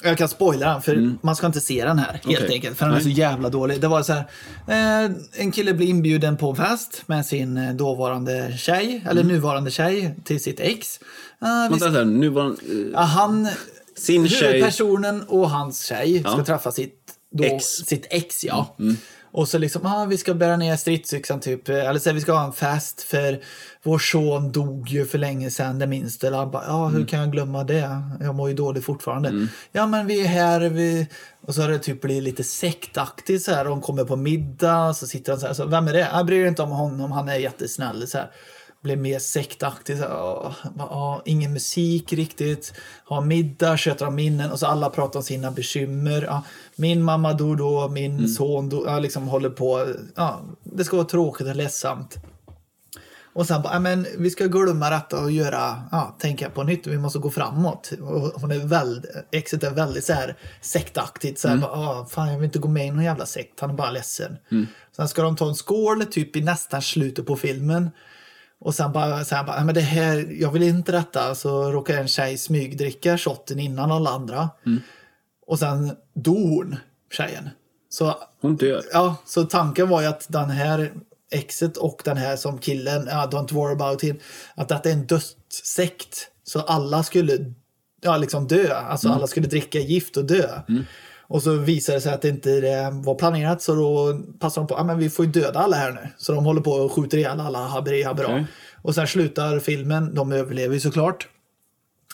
Jag kan spoila den, för man ska inte se den här helt Mm. Okej. enkelt. För den är Nej. så jävla dålig. Det var så här, eh, en kille blir inbjuden på en fest med sin eh, dåvarande tjej, eller nuvarande tjej, till sitt ex. Eh, vi Mm. Vänta, så här, nu var den, eh, Ja, han, Sin tjej. huvudpersonen och hans tjej ska Ja. träffa sitt, då, Ex. Mm. sitt ex. Ja. Och så liksom, ah, vi ska bära ner stridsyxan typ, eller så här, vi ska ha en fest för vår son dog ju för länge sedan, det minns du. Eller Han bara, ja hur Mm. kan jag glömma det? Jag mår ju dåligt fortfarande. Ja men vi är här, vi... och så har det typ blivit lite sektaktigt så här, de kommer på middag, så sitter han så här, så, vem är det? Jag bryr mig inte om honom, han är jättesnäll. Så här blev mer sektaktig. Så, här, åh, va- åh, ingen musik riktigt. Ha middag, sköter om minnen och så alla pratar om sina bekymmer. Ja, min mamma dog då, min son dog, ja, liksom håller på. Ja, det ska vara tråkigt och ledsamt. Och sen bara, "Ja, men vi ska glömma detta och göra, ja, tänka på nytt. Vi måste gå framåt. Och hon är väldigt, exet är väldigt så här sektaktigt. Så här, bara, "Ah, fan jag vill inte gå med i någon jävla sekt. Han är bara ledsen. Sen ska de ta en skål typ i nästan slutet på filmen. Och sen bara, sen bara "Nej, men det här, jag vill inte detta. Så råkar en tjej smygdricka shotten innan alla andra. Och sen dog hon, tjejen. Så hon dör. Ja, så tanken var ju att den här exet och den här som killen, ja, Don't worry about him, att detta är en dödssekt. Så alla skulle ja, liksom dö, alltså alla skulle dricka gift och dö. Och så visade det sig att det inte eh, var planerat så då passar de på, ah, men vi får ju döda alla här nu. Så de håller på och skjuter ihjäl alla, haberi habra. Okej. Och sen slutar filmen, de överlever ju såklart.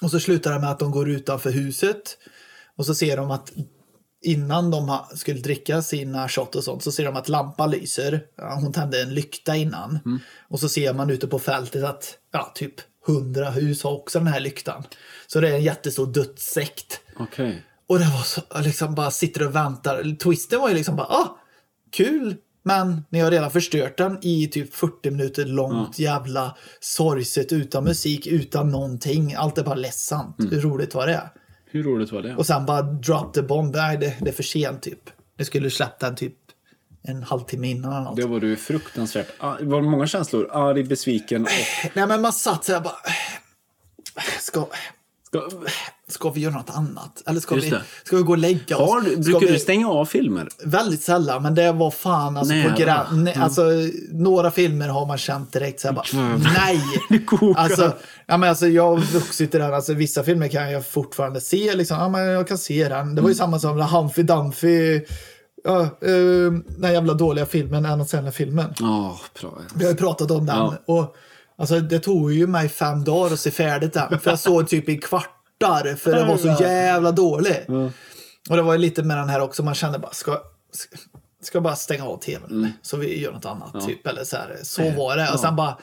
Och så slutar det med att de går utanför huset och så ser de att innan de ha- skulle dricka sina shot och sånt så ser de att lampan lyser. Ja, Hon tände en lykta innan. Och så ser man ute på fältet att ja, typ hundra hus har också den här lyktan. Så det är en jättestor dödssekt. Okej. Och det var så, liksom bara sitter och väntar. Twisten var ju liksom bara, ah, kul. Men ni har redan förstört den i typ 40 minuter långt jävla sorgset utan musik, utan någonting. Allt är bara ledsamt. Mm. Hur roligt var det? Hur roligt var det? Och sen bara drop the bomb. Nej, det, det är för sent typ. Det skulle släppt den typ en halvtimme innan eller något. Det var du fruktansvärt... Ah, det var många känslor. Arg, besviken och... Nej, men man satt så här bara, ska, Ska, ska vi göra något annat? Eller ska, Just vi, det. ska vi gå och lägga oss? har, du- Ska brukar vi- du stänga av filmer? Väldigt sällan, men det var fan alltså, Nära. Mm. på gra- ne- alltså Några filmer har man känt direkt så här bara, nej! kokar. alltså, ja, men alltså, jag har vuxit i den, alltså, vissa filmer kan jag fortfarande se, liksom, ja, men jag kan se den. Mm. Det var ju samma som den här Humphy Dumphy, ja, eh, den här jävla dåliga filmen, Anna Sandler-filmen. Ja, Ah, bra. Vi har ju pratat om den. Ja. Och, alltså, det tog ju mig fem dagar att se färdigt den. För jag såg typ i kvartar, för den var så jävla dålig. Och det var ju lite med den här också, man kände bara, ska, ska- ska jag bara stänga av tvn? Mm. Så vi gör något annat, typ. Eller så, här, så var det. Och sen bara,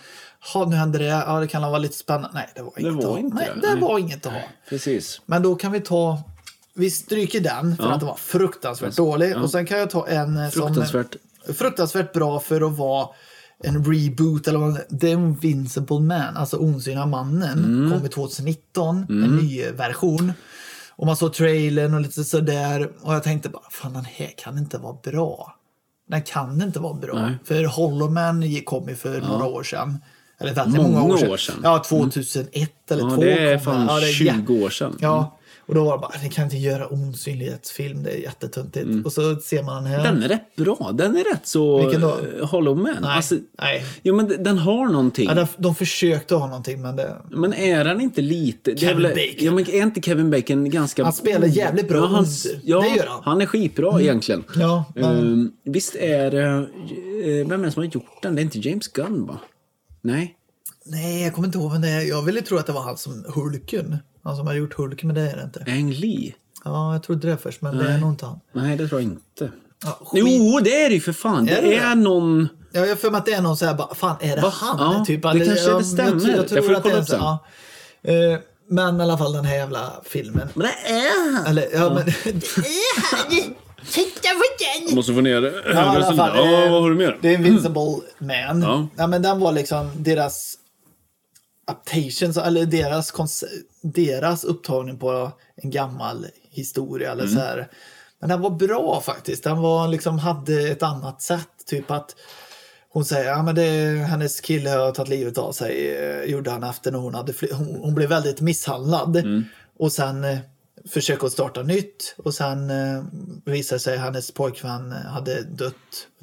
ha nu hände det, ja det kan vara lite spännande. Nej, det var inget var att ha. inte Nej, det. det Nej. var inget att ha. Precis. Men då kan vi ta, vi stryker den för att den var fruktansvärt dålig. Och sen kan jag ta en eh, Fruktansvärt. som... Fruktansvärt bra för att vara en reboot eller vad man The Invincible Man, alltså Osynliga mannen, Mm. kom i 2019, en ny version. Och man såg trailern och lite sådär. Och jag tänkte bara, fan den här kan inte vara bra. Den kan inte vara bra. För Hollow Man gick- kom ju för några år sedan. Eller väldigt många, Många år sedan. år sedan. Mm. Ja, 2001 eller Ja, två det är kom fan den. Ja, det är 20 år sedan. Ja, Mm. och då var det bara, ni kan inte göra osynlighetsfilm, det är jättetöntigt. Och så ser man den här. Mm. Den är rätt bra. Den är rätt så... Vilken då? eh, Hollow Man. nej, Alltså, nej. jo, men d- den har någonting. Ja, de, de försökte ha någonting, men det... Men är han inte lite... det är Kevin väl- Bacon. Ja, men är inte Kevin Bacon ganska... Han spelar jävligt bra Ja, han, under. ja, Det gör han. Mm. är skitbra egentligen. Ja, men- Ehm, visst är det... eh, Vem är det som har gjort den? Det är inte James Gunn, va? Nej. Nej, jag kommer inte ihåg vem det är. Jag ville tro att det var han som Hulken. Han som har gjort Hulken, men det är det inte. Ang Lee? Ja, jag trodde det först, men det är nog inte han. Nej, det tror jag inte. Ja, skit. Jo, det är det ju för fan. Det Är är, det det? någon... Ja, jag har för mig att det är någon så här bara, fan är det han? Ja, typ, det eller- kanske det ja, Jag, stämmer. tror- jag Jag tror får att det kolla är upp så, ja. Eh, Men i alla fall den här jävla filmen. Men det är han! Eller, ja, men, det är han! Titta på den! Jag måste få ner Ja, i alla ögonbrynen. fall, Ja, eh, vad har du mer? Det är Invincible Man. Ja. Ja. men den var liksom deras adaptation, så- eller deras, konce- deras upptagning på en gammal historia. Mm. Eller så här. Men den var bra faktiskt. Den var, liksom, hade ett annat sätt. Typ att hon säger att ja, men det är- hennes kille har tagit livet av sig. eh, gjorde han efter när hon, hade fly- hon, hon blev väldigt misshandlad. Och sen eh, försöker hon starta nytt. Och sen eh, visar det sig att hennes pojkvän hade dött.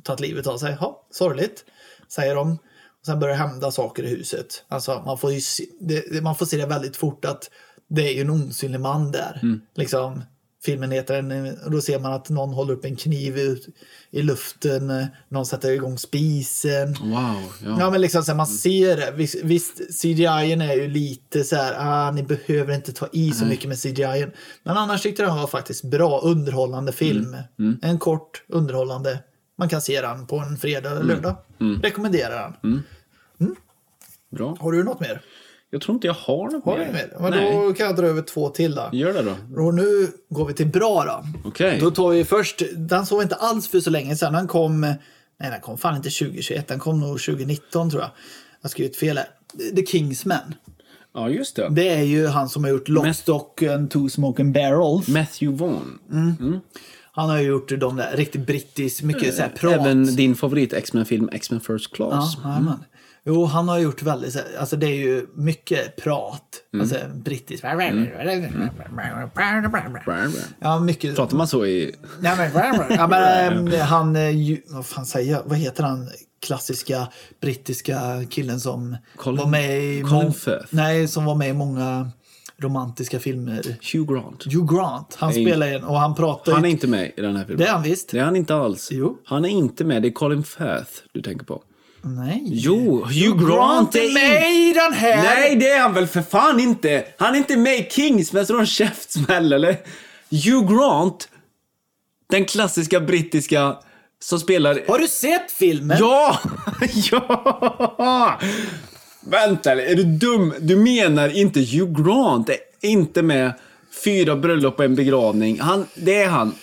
Tagit livet av sig. Ja, sorgligt, säger de. Och sen börjar det hända saker i huset. Alltså, man, får ju se, det, det- man får se det väldigt fort att det är ju en osynlig man där. Liksom, filmen heter en, och då ser man att någon håller upp en kniv ut i luften, eh, någon sätter igång spisen. Wow. Ja, Ja. Mm. men liksom så här, man ser det. Vis- Visst, CGI är ju lite så här, ah, ni behöver inte ta i Mm. så mycket med CGI. Men annars tyckte jag den var faktiskt bra, underhållande film. Mm. En kort, underhållande. Man kan se den på en fredag Mm. eller lördag. Rekommenderar den. Bra. Har du något mer? Jag tror inte jag har något Har du inget mer? Men Nej. då kan jag dra över två till då. Gör det då. Och nu går vi till bra då. Okej. Då tar vi först, den såg vi inte alls för så länge sedan. Den kom, nej den kom fan inte 2021, den kom nog 2019 tror jag. Jag har skrivit fel här. The Kingsman. Ja, just det. Det är ju han som har gjort Lock, Stock and Two Smoking Barrels. Matthew Vaughn. Han har ju gjort de där riktigt brittiskt, mycket så här prat. Eh, Även Mm. din favorit X-Men-film X-Men First Ja, Class. jajamän. Jo, han har gjort väldigt, så här- alltså det är ju mycket prat. Mm. Alltså brittiskt. Ja, mycket. Pratar man så i... Nej, men, ja, men, eh, han, eh, ju- vad fan säger jag? Vad heter han klassiska brittiska killen som Colin- var med i... Colin mång- Firth. Nej, som var med i många romantiska filmer. Hugh Grant. Hugh Grant, han spelar en och han pratar Han är ju... inte med i den här filmen. Det är han visst. Det är han inte alls. Jo. Han är inte med. Det är Colin Firth du tänker på. Nej. Jo, Hugh Grant är med! med i den här! Nej, det är han väl för fan inte! Han är inte med i Kingsman så någon käftsmäll, eller? Hugh Grant, den klassiska brittiska som spelar... Har du sett filmen? Ja! ja! Vänta, eller är du dum? Du menar inte Hugh Grant är inte med fyra bröllop och en begravning. Han, det är han.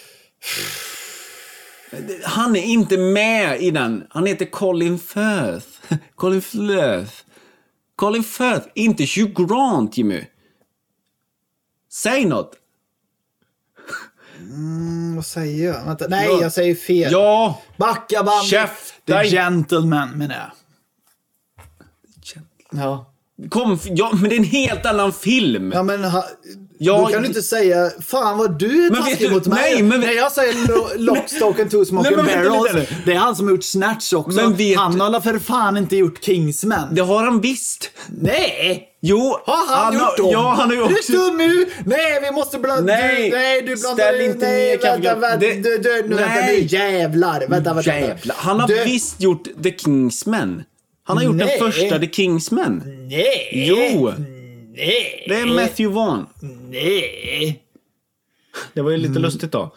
Han är inte med i den. Han heter Colin Firth. Colin Firth. Colin Firth, inte Hugh Grant, Jimmy. Säg något. Vad säger jag? Vänta, nej, Ja. jag säger fel. Ja! Backa bandet! Chef, The dig. Gentleman menar jag. Ja. Kom, ja, men det är en helt annan film. Ja, men ha, Ja, då kan du inte säga Fan vad du Men är vet taskig du- mot mig. nej, men- Nej, jag säger lo, Lockstock and two Nej, smoking men vänta lite barrels. nu. Det är han som har gjort Snatch också. Men vet han du- har för fan inte gjort Kingsman. Det har han visst. Nej! Jo, Har han, gjort dem? har, Ja, han har ju också... Du är dum nu! Nej, vi måste blanda... Nej, du, nej, du blandar ställ inte nej, ner vänta, kaffeglaset. vänta, Det- du, du, nu, vänta Nej. nu, jävlar. Vänta, vänta. Jävlar. Han har Du- visst gjort The Kingsman. Han har gjort Nej. den första The Kingsman. Nej! Jo, Nej! det är Matthew Vaughn. Nej! Det var ju lite lustigt då.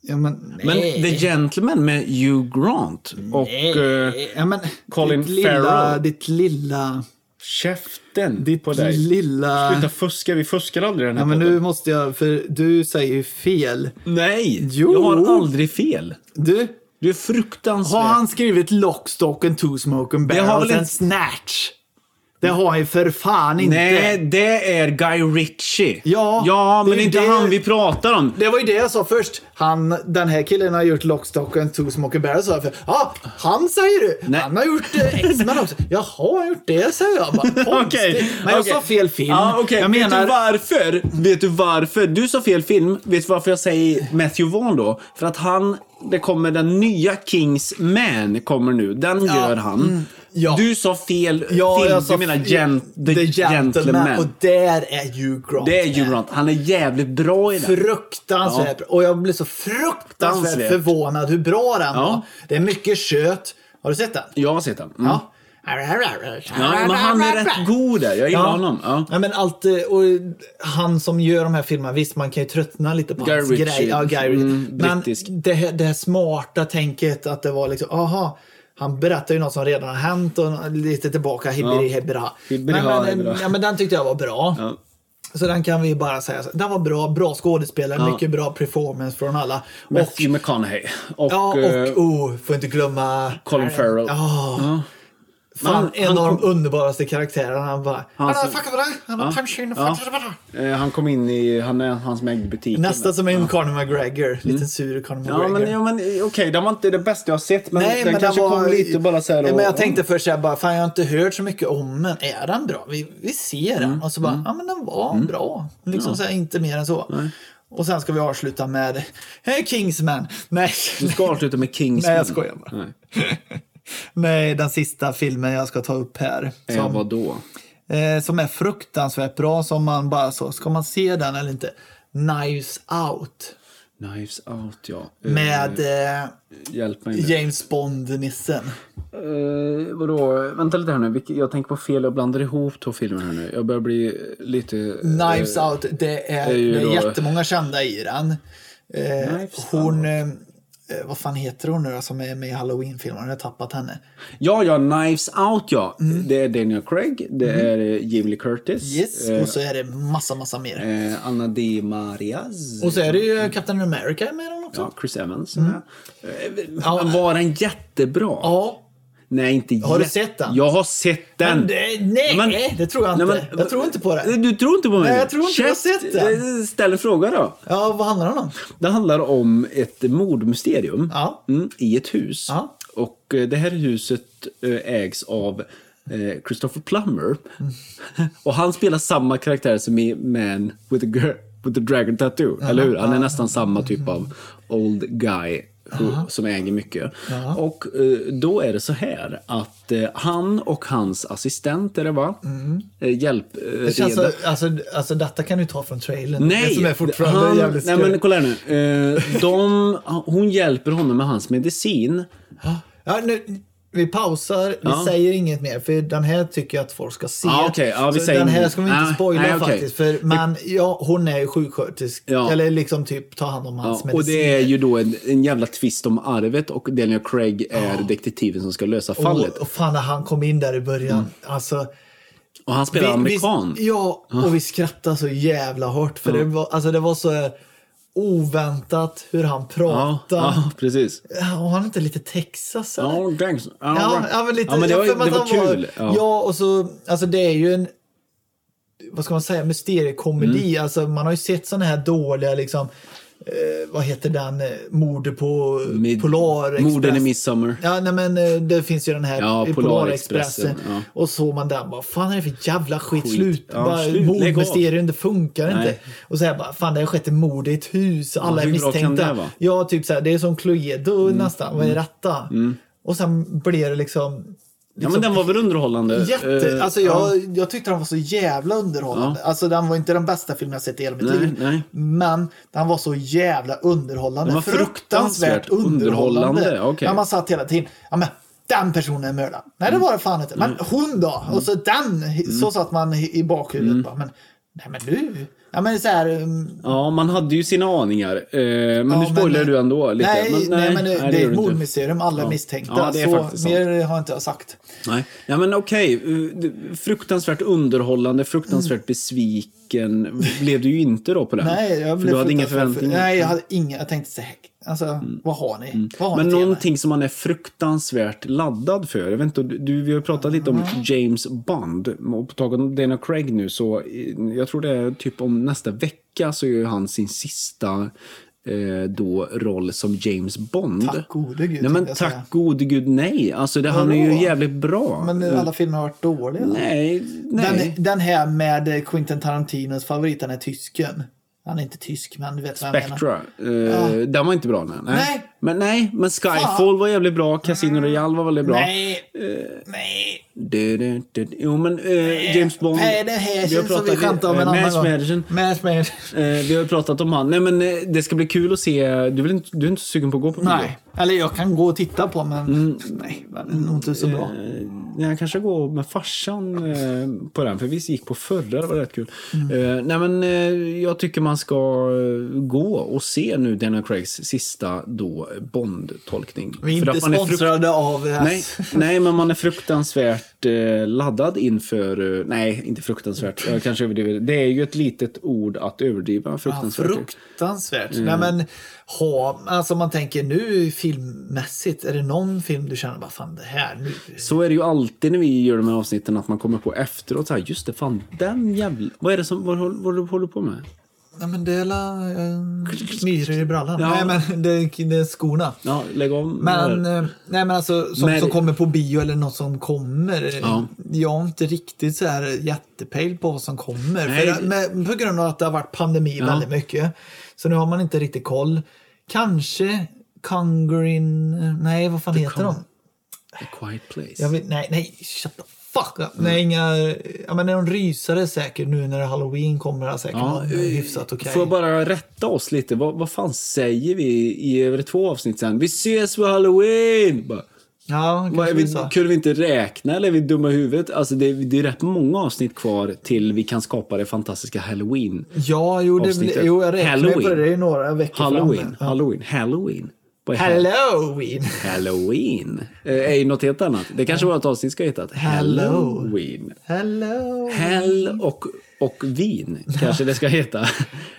Ja, men... Men nej. The Gentleman med Hugh Grant och eh, ja, men, Colin ditt lilla, Farrell. ditt lilla... käften Ditt på dig. lilla... Sluta fuska, vi fuskar aldrig i den här Ja, men podden. nu måste jag, för du säger ju fel. Nej, Jo. jag har aldrig fel. Du, Du är fruktansvärd. har han skrivit Lockstock and two smoke and har barrels väl and inte- snatch? Det har han ju för fan inte. Nej, det är Guy Ritchie. Ja, ja det men är det är inte det- han vi pratar om. Det var ju det jag sa först. Han, den här killen har gjort Lockstock and two smoke and barrels sa jag för. Ja, han säger du. Nej. Han har gjort eh, X-Men också. Jaha, han har gjort det säger jag bara. Okej, Konstigt. Men jag okej. sa fel film. Ja, okej. Jag Vet du menar... varför? Vet du varför? Du sa fel film. Vet du varför jag säger Matthew Vaughn då? För att han, det kommer den nya Kings Man kommer nu. Den gör han. Mm. ja. Du sa fel film. du menar gen, the, gentleman. Och där är Hugh Grant. det är med. ju Grant. Han är jävligt bra i den. Fruktansvärt bra. Och jag blev så Fruktansvärt. fruktansvärt förvånad hur bra den var. Det är mycket kött. Har du sett den? Jag har sett den. Mm. Ja. Ja, men han är rätt god där. Jag gillar Ja. honom. Ja. Ja, men allt, eh, och han som gör de här filmerna, visst man kan ju tröttna lite på Guy hans Ritchie. grej. Ja, Guy Ritchie. Mm, men brittisk. det, här- det här smarta tänket att det var liksom, aha, han berättar ju något som redan har hänt och lite tillbaka, hibberi Ja. hibbera. Hibberi men, men, hibbera. ja, men den tyckte jag var bra. Ja. Så den kan vi bara säga, så- den var bra, bra skådespelare, Ja. mycket bra performance från alla. och, Matthew McConaughey. Och, ja, eh, och oh, får inte glömma... Colin Farrell. Ja. Ja. Fan, Han- en han av de kom- underbaraste karaktärerna. Han bara... Han har Alltså- fuckat med dig! Han har punch in Ja. och fuckat med dig! Eh, Han kom in i han, hans mägdbutik. Nästan som en Conor McGregor. Lite sur Conor Mm. Ja, McGregor. men, ja, men okej, den var inte det bästa jag har sett. Men den kanske kom lite bara så här. Nej, och- men jag tänkte först såhär bara, fan jag har inte hört så mycket om den. Är den bra? Vi, vi ser den. Mm. Och så bara, ja men den var bra. Liksom så här, inte mer än så. Och sen ska vi avsluta med hey, Kingsman. Nej, Du ska avsluta med Kingsman. Nej, jag skojar bara. Nej. nej, den sista filmen jag ska ta upp här. Eh, Som, vadå? eh, som är fruktansvärt bra. Som man bara så, ska man se den eller inte? Knives Out. Knives Out, ja. Eh, Med eh, Hjälp mig nu. James Bond-nissen. Eh, vadå? Vänta lite här nu. Vilke- Jag tänker på fel. Jag blandar ihop två filmer här nu. Jag börjar bli eh, lite... Knives Out, det är, Eh, är ju det är då- jättemånga kända i den. Eh, Knives hon, eh, vad fan heter hon nu då, som är med i Halloween-filmerna? Jag har tappat henne. Ja, ja. Knives Out, ja. Mm. Det är Daniel Craig. Det är eh, Jamie Lee Curtis. Yes, Eh, och så är det massa, massa mer. eh, Anna Di Marias. Och så är det ju Captain America med den också. Ja, Chris Evans. Mm. Var den jättebra? Ja. Nej, inte Har du jätte- sett den? Jag har sett den. Men det- Eh, nej, det tror jag inte. Jag tror inte på det. Du tror inte på mig? Nej, jag tror inte jag har Käft, sett den. eh, Ställ en fråga då. Ja, vad handlar den om? Det handlar om ett mordmysterium Ja. mm, i ett hus. Ja. Och eh, det här huset eh, ägs av eh, Christopher Plummer. Mm. Och han spelar samma karaktär som i Man with a, girl, with a Dragon Tattoo. Eller hur? Han är nästan samma Mm. typ av old guy. who- Som äger mycket. Och eh, då är det så här att eh, han och hans assistent, är det va? Eh, hjälp, eh, Mm. Det känns reda- så, alltså, alltså, detta kan du ta från trailern. Det Nej! som är fortfarande jävligt nej skoj. men kolla här nu. Eh, de, hon hjälper honom med hans medicin. Ja, nu, vi pausar, vi säger inget mer för den här tycker jag att folk ska se. Ja, Ah, okej. Ja, vi så säger den här inget. ska vi inte Nej, spoila nej, okej. faktiskt. För, men ja, hon är ju sjuksköterska. Ja. Eller liksom typ tar hand om hans Ja, medicin. och det är ju då en, en jävla tvist om arvet och Daniel Craig är detektiven som ska lösa fallet. Mm. Och, och fan när han kom in där i början. Alltså, Och han spelar amerikan. Vi, ja, och vi skrattade så jävla hårt. För det, var, alltså, det var så eh, oväntat hur han ja, pratade. ja, precis. Ja, och han är inte lite Texas eller? Ja, thanks. Ja, ja, men lite. ja, men det jag var, för mig det var att han kul. Ja. och så, alltså det är ju en, vad ska man säga, mysteriekomedi. Mm. Alltså man har ju sett sådana här dåliga liksom, eh, vad heter den, eh, mordet på Med- Polarexpressen. Morden i Midsommar. Ja, nej men eh, det finns ju den här Ja, eh, Polarexpressen. Polarexpressen, ja. Och så man den bara, fan är det för jävla skit? Skit. Slut, Ja, bara, slut, lägg av. mordmysterium, det funkar inte. Nej. Och så här bara, fan det har skett ett mord i ett hus, alla hur är bra kan det misstänkta. vara? Mm. Ja, typ så här, det är som Cluedo nästan, vad är detta? Och sen blir det liksom... Ja, men den var väl underhållande? Jätte, Eh, alltså jag, jag tyckte den var så jävla underhållande. Alltså den var inte den bästa filmen jag sett i hela mitt Nej, liv. nej. Men den var så jävla underhållande. Den var fruktansvärt underhållande, okej. Mm. När man satt hela tiden. Ja, men den personen är mördaren. Nej, det var det fan inte. Men hon då? Och så den. Så satt man i i bakhuvudet. Mm. Bara, men, nej, men du. Ja, men så här. um, Ja, man hade ju sina aningar. Eh, Men nu ja, spoilar men- du ändå lite. Nej, nej, men det, det gör är du ett inte. mordmysterium. Alla är misstänkta. Ja, det är så faktiskt sant. mer har inte jag sagt. Nej, ja, men okej. Eh, det- Fruktansvärt underhållande, fruktansvärt besviken blev du ju inte då på den. Mm. Nej, jag Mm. För blev du hade inga fruktansvärt- förväntningar. Mm. Nej, jag hade inga. Jag tänkte så här, alltså, vad har ni? Vad har Men ni till någonting som man är fruktansvärt laddad för. Jag vet inte, du- du, vi har ju pratat lite om James Bond. Och på taget om Dana Craig nu så, eh, jag tror det är typ om nästa vecka så gör han sin sista eh, då roll som James Bond. Tack gode gud, Nej, men tänkte jag tack säga. gode gud nej. Alltså det, han är Vadå? ju jävligt bra. mig? Men nu, alla filmer har varit dåliga. Mm. Nej, nej. Den, den här med eh, Quentin Tarantinos favorit, han är tysken. Han är inte tysk, men du vet vad jag menar. Spectra. Uh, Den var inte bra. Nej. Nej. Mm. Men, nej, men Skyfall var jävligt bra. Casino Royale var väldigt bra. Nej, Eh, nej. Du, du, du. Jo, men eh, James Bond. Nej, det här känns som vi skämtar om en eh, annan Mads gång. Mikkelsen. Mads Mikkelsen. Eh, vi har ju pratat om han. Nej, men eh, det ska bli kul att se. Du, vill inte, du är inte så sugen på att gå på bio? Nej, eller jag kan gå och titta på, men nej, det är nog inte så bra. Mm. Eh, nej, jag kanske går med farsan eh, på den, för vi gick på förra, det var rätt kul. Mm. Eh, nej, men eh, jag tycker man ska eh, gå och se nu Daniel Craigs sista då eh, Bond-tolkning. Vi är För inte att man är frukt- sponsrade av... eh, Nej, nej, men man är fruktansvärt fruktansvärt eh, laddad inför... eh, Nej, inte fruktansvärt. Jag kanske överdriver. Det är ju ett litet ord att överdriva. Ja, Fruktansvärt. Mm. fruktansvärt. Nej, men, ha, alltså man tänker nu filmmässigt, är det någon film du känner bara fan det här nu? Så är det ju alltid när vi gör de här avsnitten att man kommer på efteråt så här, just det, fan den jävla... Vad är det som... Vad, håller- vad, håller- håller du på med? Nej men det är la, eh, myror i brallan. Ja. Nej men det, är- det är skorna. Ja, lägg om. Men, eh, nej, men alltså sånt Men- som kommer på bio eller något som kommer. eh, Ja. Jag är inte riktigt så här jättepejl på vad som kommer. Nej. För, men, på grund av att det har varit pandemi Ja. väldigt mycket. Så nu har man inte riktigt koll. Kanske Congerin... Nej, vad fan heter de? Con- A quiet place. Jag vet, nej, nej, shut the fuck up. Nej, Mm. inga, ja, men någon rysare säkert nu när halloween kommer. har Säkert Ja, någon eh, hyfsat okej. Får jag bara rätta oss lite? Vad, vad fan säger vi i över två avsnitt sen? Vi ses på halloween! Bara, Ja, vad är kanske det är vi, så. kunde vi inte räkna eller är vi dumma i huvudet? Alltså det, är- det är rätt många avsnitt kvar till vi kan skapa det fantastiska halloween. Ja, jo, det, Avsnittet. jo jag räknar ju på det. Halloween. Det är ju några veckor fram. Halloween, halloween, halloween. Vad är hall- Halloween! Halloween eh, är ju något helt annat. Det kanske vårt avsnitt ska heta. Halloween. Hello! Hell och, och vin kanske det ska heta.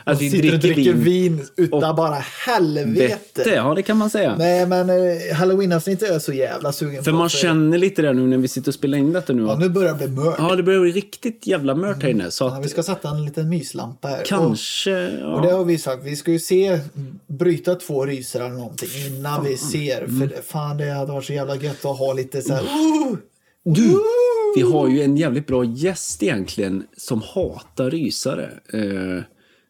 Att vi Sitter dricker, och dricker vin. vin utan bara Vete, helvete. ja det kan man säga. Nej, men eh, halloweenavsnittet är jag så jävla sugen För på. man känner lite det nu när vi sitter och spelar in detta nu. Ja, att- nu börjar det bli mörkt. Ja, det börjar bli riktigt jävla mört här inne. Så Ja, att vi ska sätta en liten myslampa här. Och- kanske... Ja. Och det har vi sagt, vi ska ju se bryta två ryser eller någonting innan vi ser. Mm. För det- fan det hade varit så jävla gött att ha lite så här. Oh! "Ooh, Du, ooh." vi har ju en jävligt bra gäst egentligen som hatar rysare. Eh,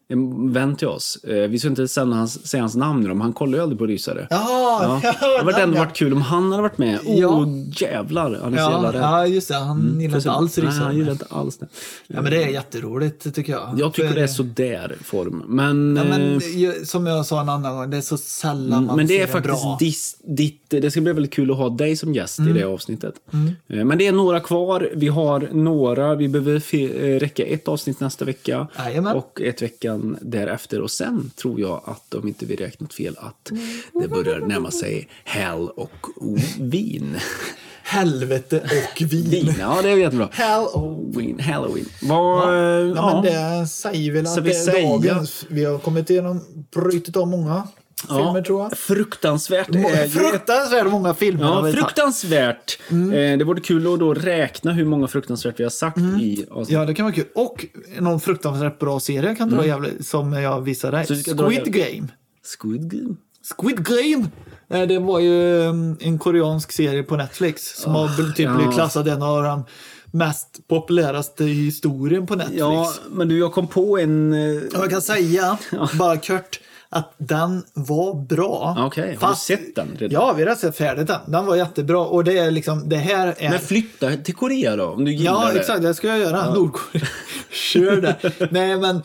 en vän till oss. Eh, vi ska inte sända hans, säga hans namn nu, men han kollar ju aldrig på rysare. Ja, Det hade varit den, ändå ja. varit kul om han hade varit med. Åh, Ja. jävlar! Han är så jävla Ja, rädd. ja, just det. Han gillar inte alls Nej, han gillar rysare. inte alls det. Ja, men det är jätteroligt tycker jag. Jag tycker För- det är sådär form. Men... Ja, eh, men, ju- som jag sa en annan gång, det är så sällan man Mm, Men det ser är faktiskt bra. Mm. dis, ditt... Det ska bli väldigt kul att ha dig som gäst i det avsnittet. Eh, Men det är några kvar. Vi har några. Vi behöver fi- eh, räcka ett avsnitt nästa vecka. Jajamän. Och ett veckan därefter. Och sen tror jag att, om inte vi räknat fel, att det börjar närma sig hell och vin. Helvete och vin, vin. ja det är jättebra. Hell och Halloween, halloween. Vad... eh, Ja, men ja. det säger väl att Så vi det är säger- dagens. Vi har kommit igenom, brutit av många Ja, filmer tror jag. Fruktansvärt. Må- är ju ett- Fruktansvärt många filmer har Ja, vi tagit. fruktansvärt. Eh, det vore kul att då räkna hur många fruktansvärt vi har sagt i avsnittet. Ja, det kan vara kul. Och någon fruktansvärt bra serie jag kan dra jävligt, som jag visade Mm. dig. Så vi ska dra Squid Game. Squid Game. Squid Game! Eh, Det var ju mm, en koreansk serie på Netflix som har bl- typ Ah, ja. blivit klassad en av de mest populäraste i historien på Netflix. Ja, men du, jag kom på en... eh, Och Jag kan säga, bara kort, att den var bra. Okej, har du sett den redan? Ja, vi har sett färdigt den. Den var jättebra och det är liksom, det här är... Men flytta till Korea då, om du gillar Ja, det. exakt. Det ska jag göra. Nordkorea. Kör det. nej, men,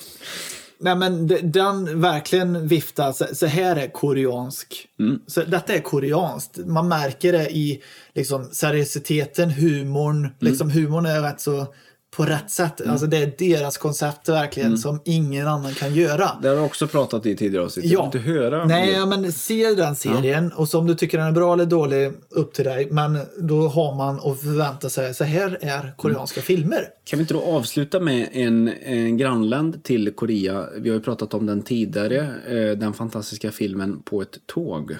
nej, men de- den verkligen viftar. Så, så här är koreansk. Mm. Så, detta är koreanskt. Man märker det i liksom, seriositeten, humorn. Mm. Liksom, humorn är rätt så på rätt sätt. Alltså, det är deras koncept verkligen Mm. som ingen annan kan göra. Det har jag också pratat i tidigare avsnitt. Jag vill inte höra. Nej, mer. ja, men se den serien och så om du tycker den är bra eller dålig, upp till dig. Men då har man att förvänta sig, så här är koreanska filmer. Kan vi inte då avsluta med en, en grannland till Korea? Vi har ju pratat om den tidigare. Eh, den fantastiska filmen På ett tåg.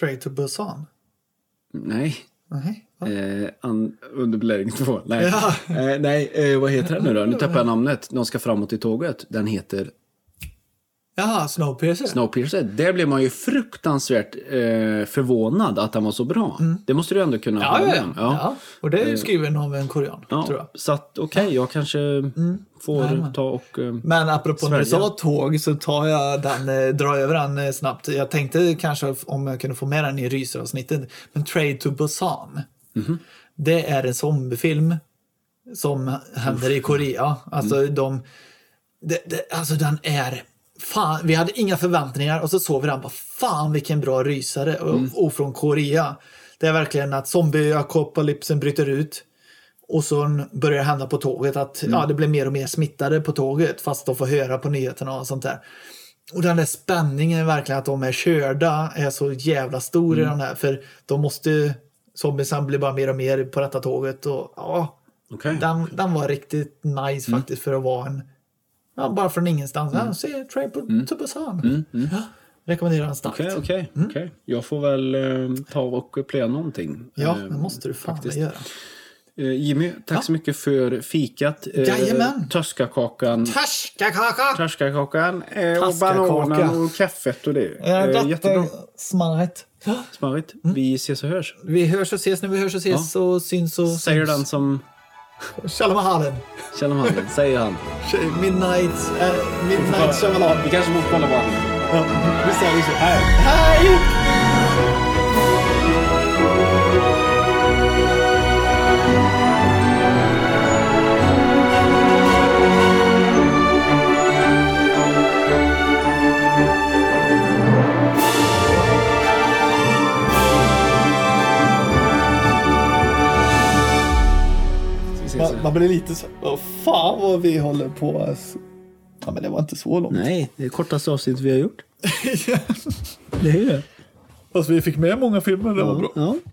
Train to Busan. Nej. Nej. va? Eh, an, under belägring 2. Nej, Ja. eh, nej eh, vad heter den nu då? Nu tappar jag namnet. De ska framåt i tåget. Den heter Jaha, Snowpiercer. Snowpiercer. Där blev man ju fruktansvärt eh, förvånad att den var så bra. Det måste du ändå kunna Mm. ja, hålla ja, med ja. om. ja, och det är ju skriven av en korean, Ja, tror jag. Mm. Så att okej, jag kanske får ta och... Eh, Men apropå när du Sverige. sa tåg så tar jag den, eh, drar jag över den eh, snabbt. Jag tänkte kanske f- om jag kunde få med den i ryseravsnittet. Men Trade to Busan. Det är en zombiefilm som händer i Korea. Alltså de... Det, det, alltså den är... Fan, vi hade inga förväntningar och så såg vi den bara fan vilken bra rysare och, och från Korea. Det är verkligen att zombieapokalypsen bryter ut. Och så börjar det hända på tåget att ja, det blir mer och mer smittade på tåget fast de får höra på nyheterna och sånt där. Och den där spänningen verkligen att de är körda är så jävla stor i den här för de måste ju Zombiesen blir bara mer och mer på detta tåget. Och, ja, Okej. den, den var riktigt nice faktiskt för att vara en... Ja, bara från ingenstans. Ja, se, Train på mm. Busan. Ja, rekommenderar den starkt. Okej, okej. Mm. okej. Jag får väl eh, ta och playa någonting. Ja, Eh, det måste du fan göra. eh, Jimmy, tack så mycket för fikat. Eh, Jajamän. Törskakakan. Färskakaka! Törskakakan eh, och Taskakaka. bananen och kaffet och det. Mm. Ja, Eh, jättebra. Smart. Ja. Smarrigt. Vi ses och hörs. Vi hörs och ses när vi hörs och ses och syns och Säger den som syns. Shalom halen. känner handen. Säger han. Midnight, eh, midnight Shyamalan. Vi kanske måste kolla varandra. Vi säger så här. Hej! Vi ses. Man, man blir lite så... Åh, fan vad vi håller på. Alltså. Ja, men det var inte så långt. Nej, det är kortaste avsnittet vi har gjort. Det är ju det. Fast vi fick med många filmer. Det var bra. Ja.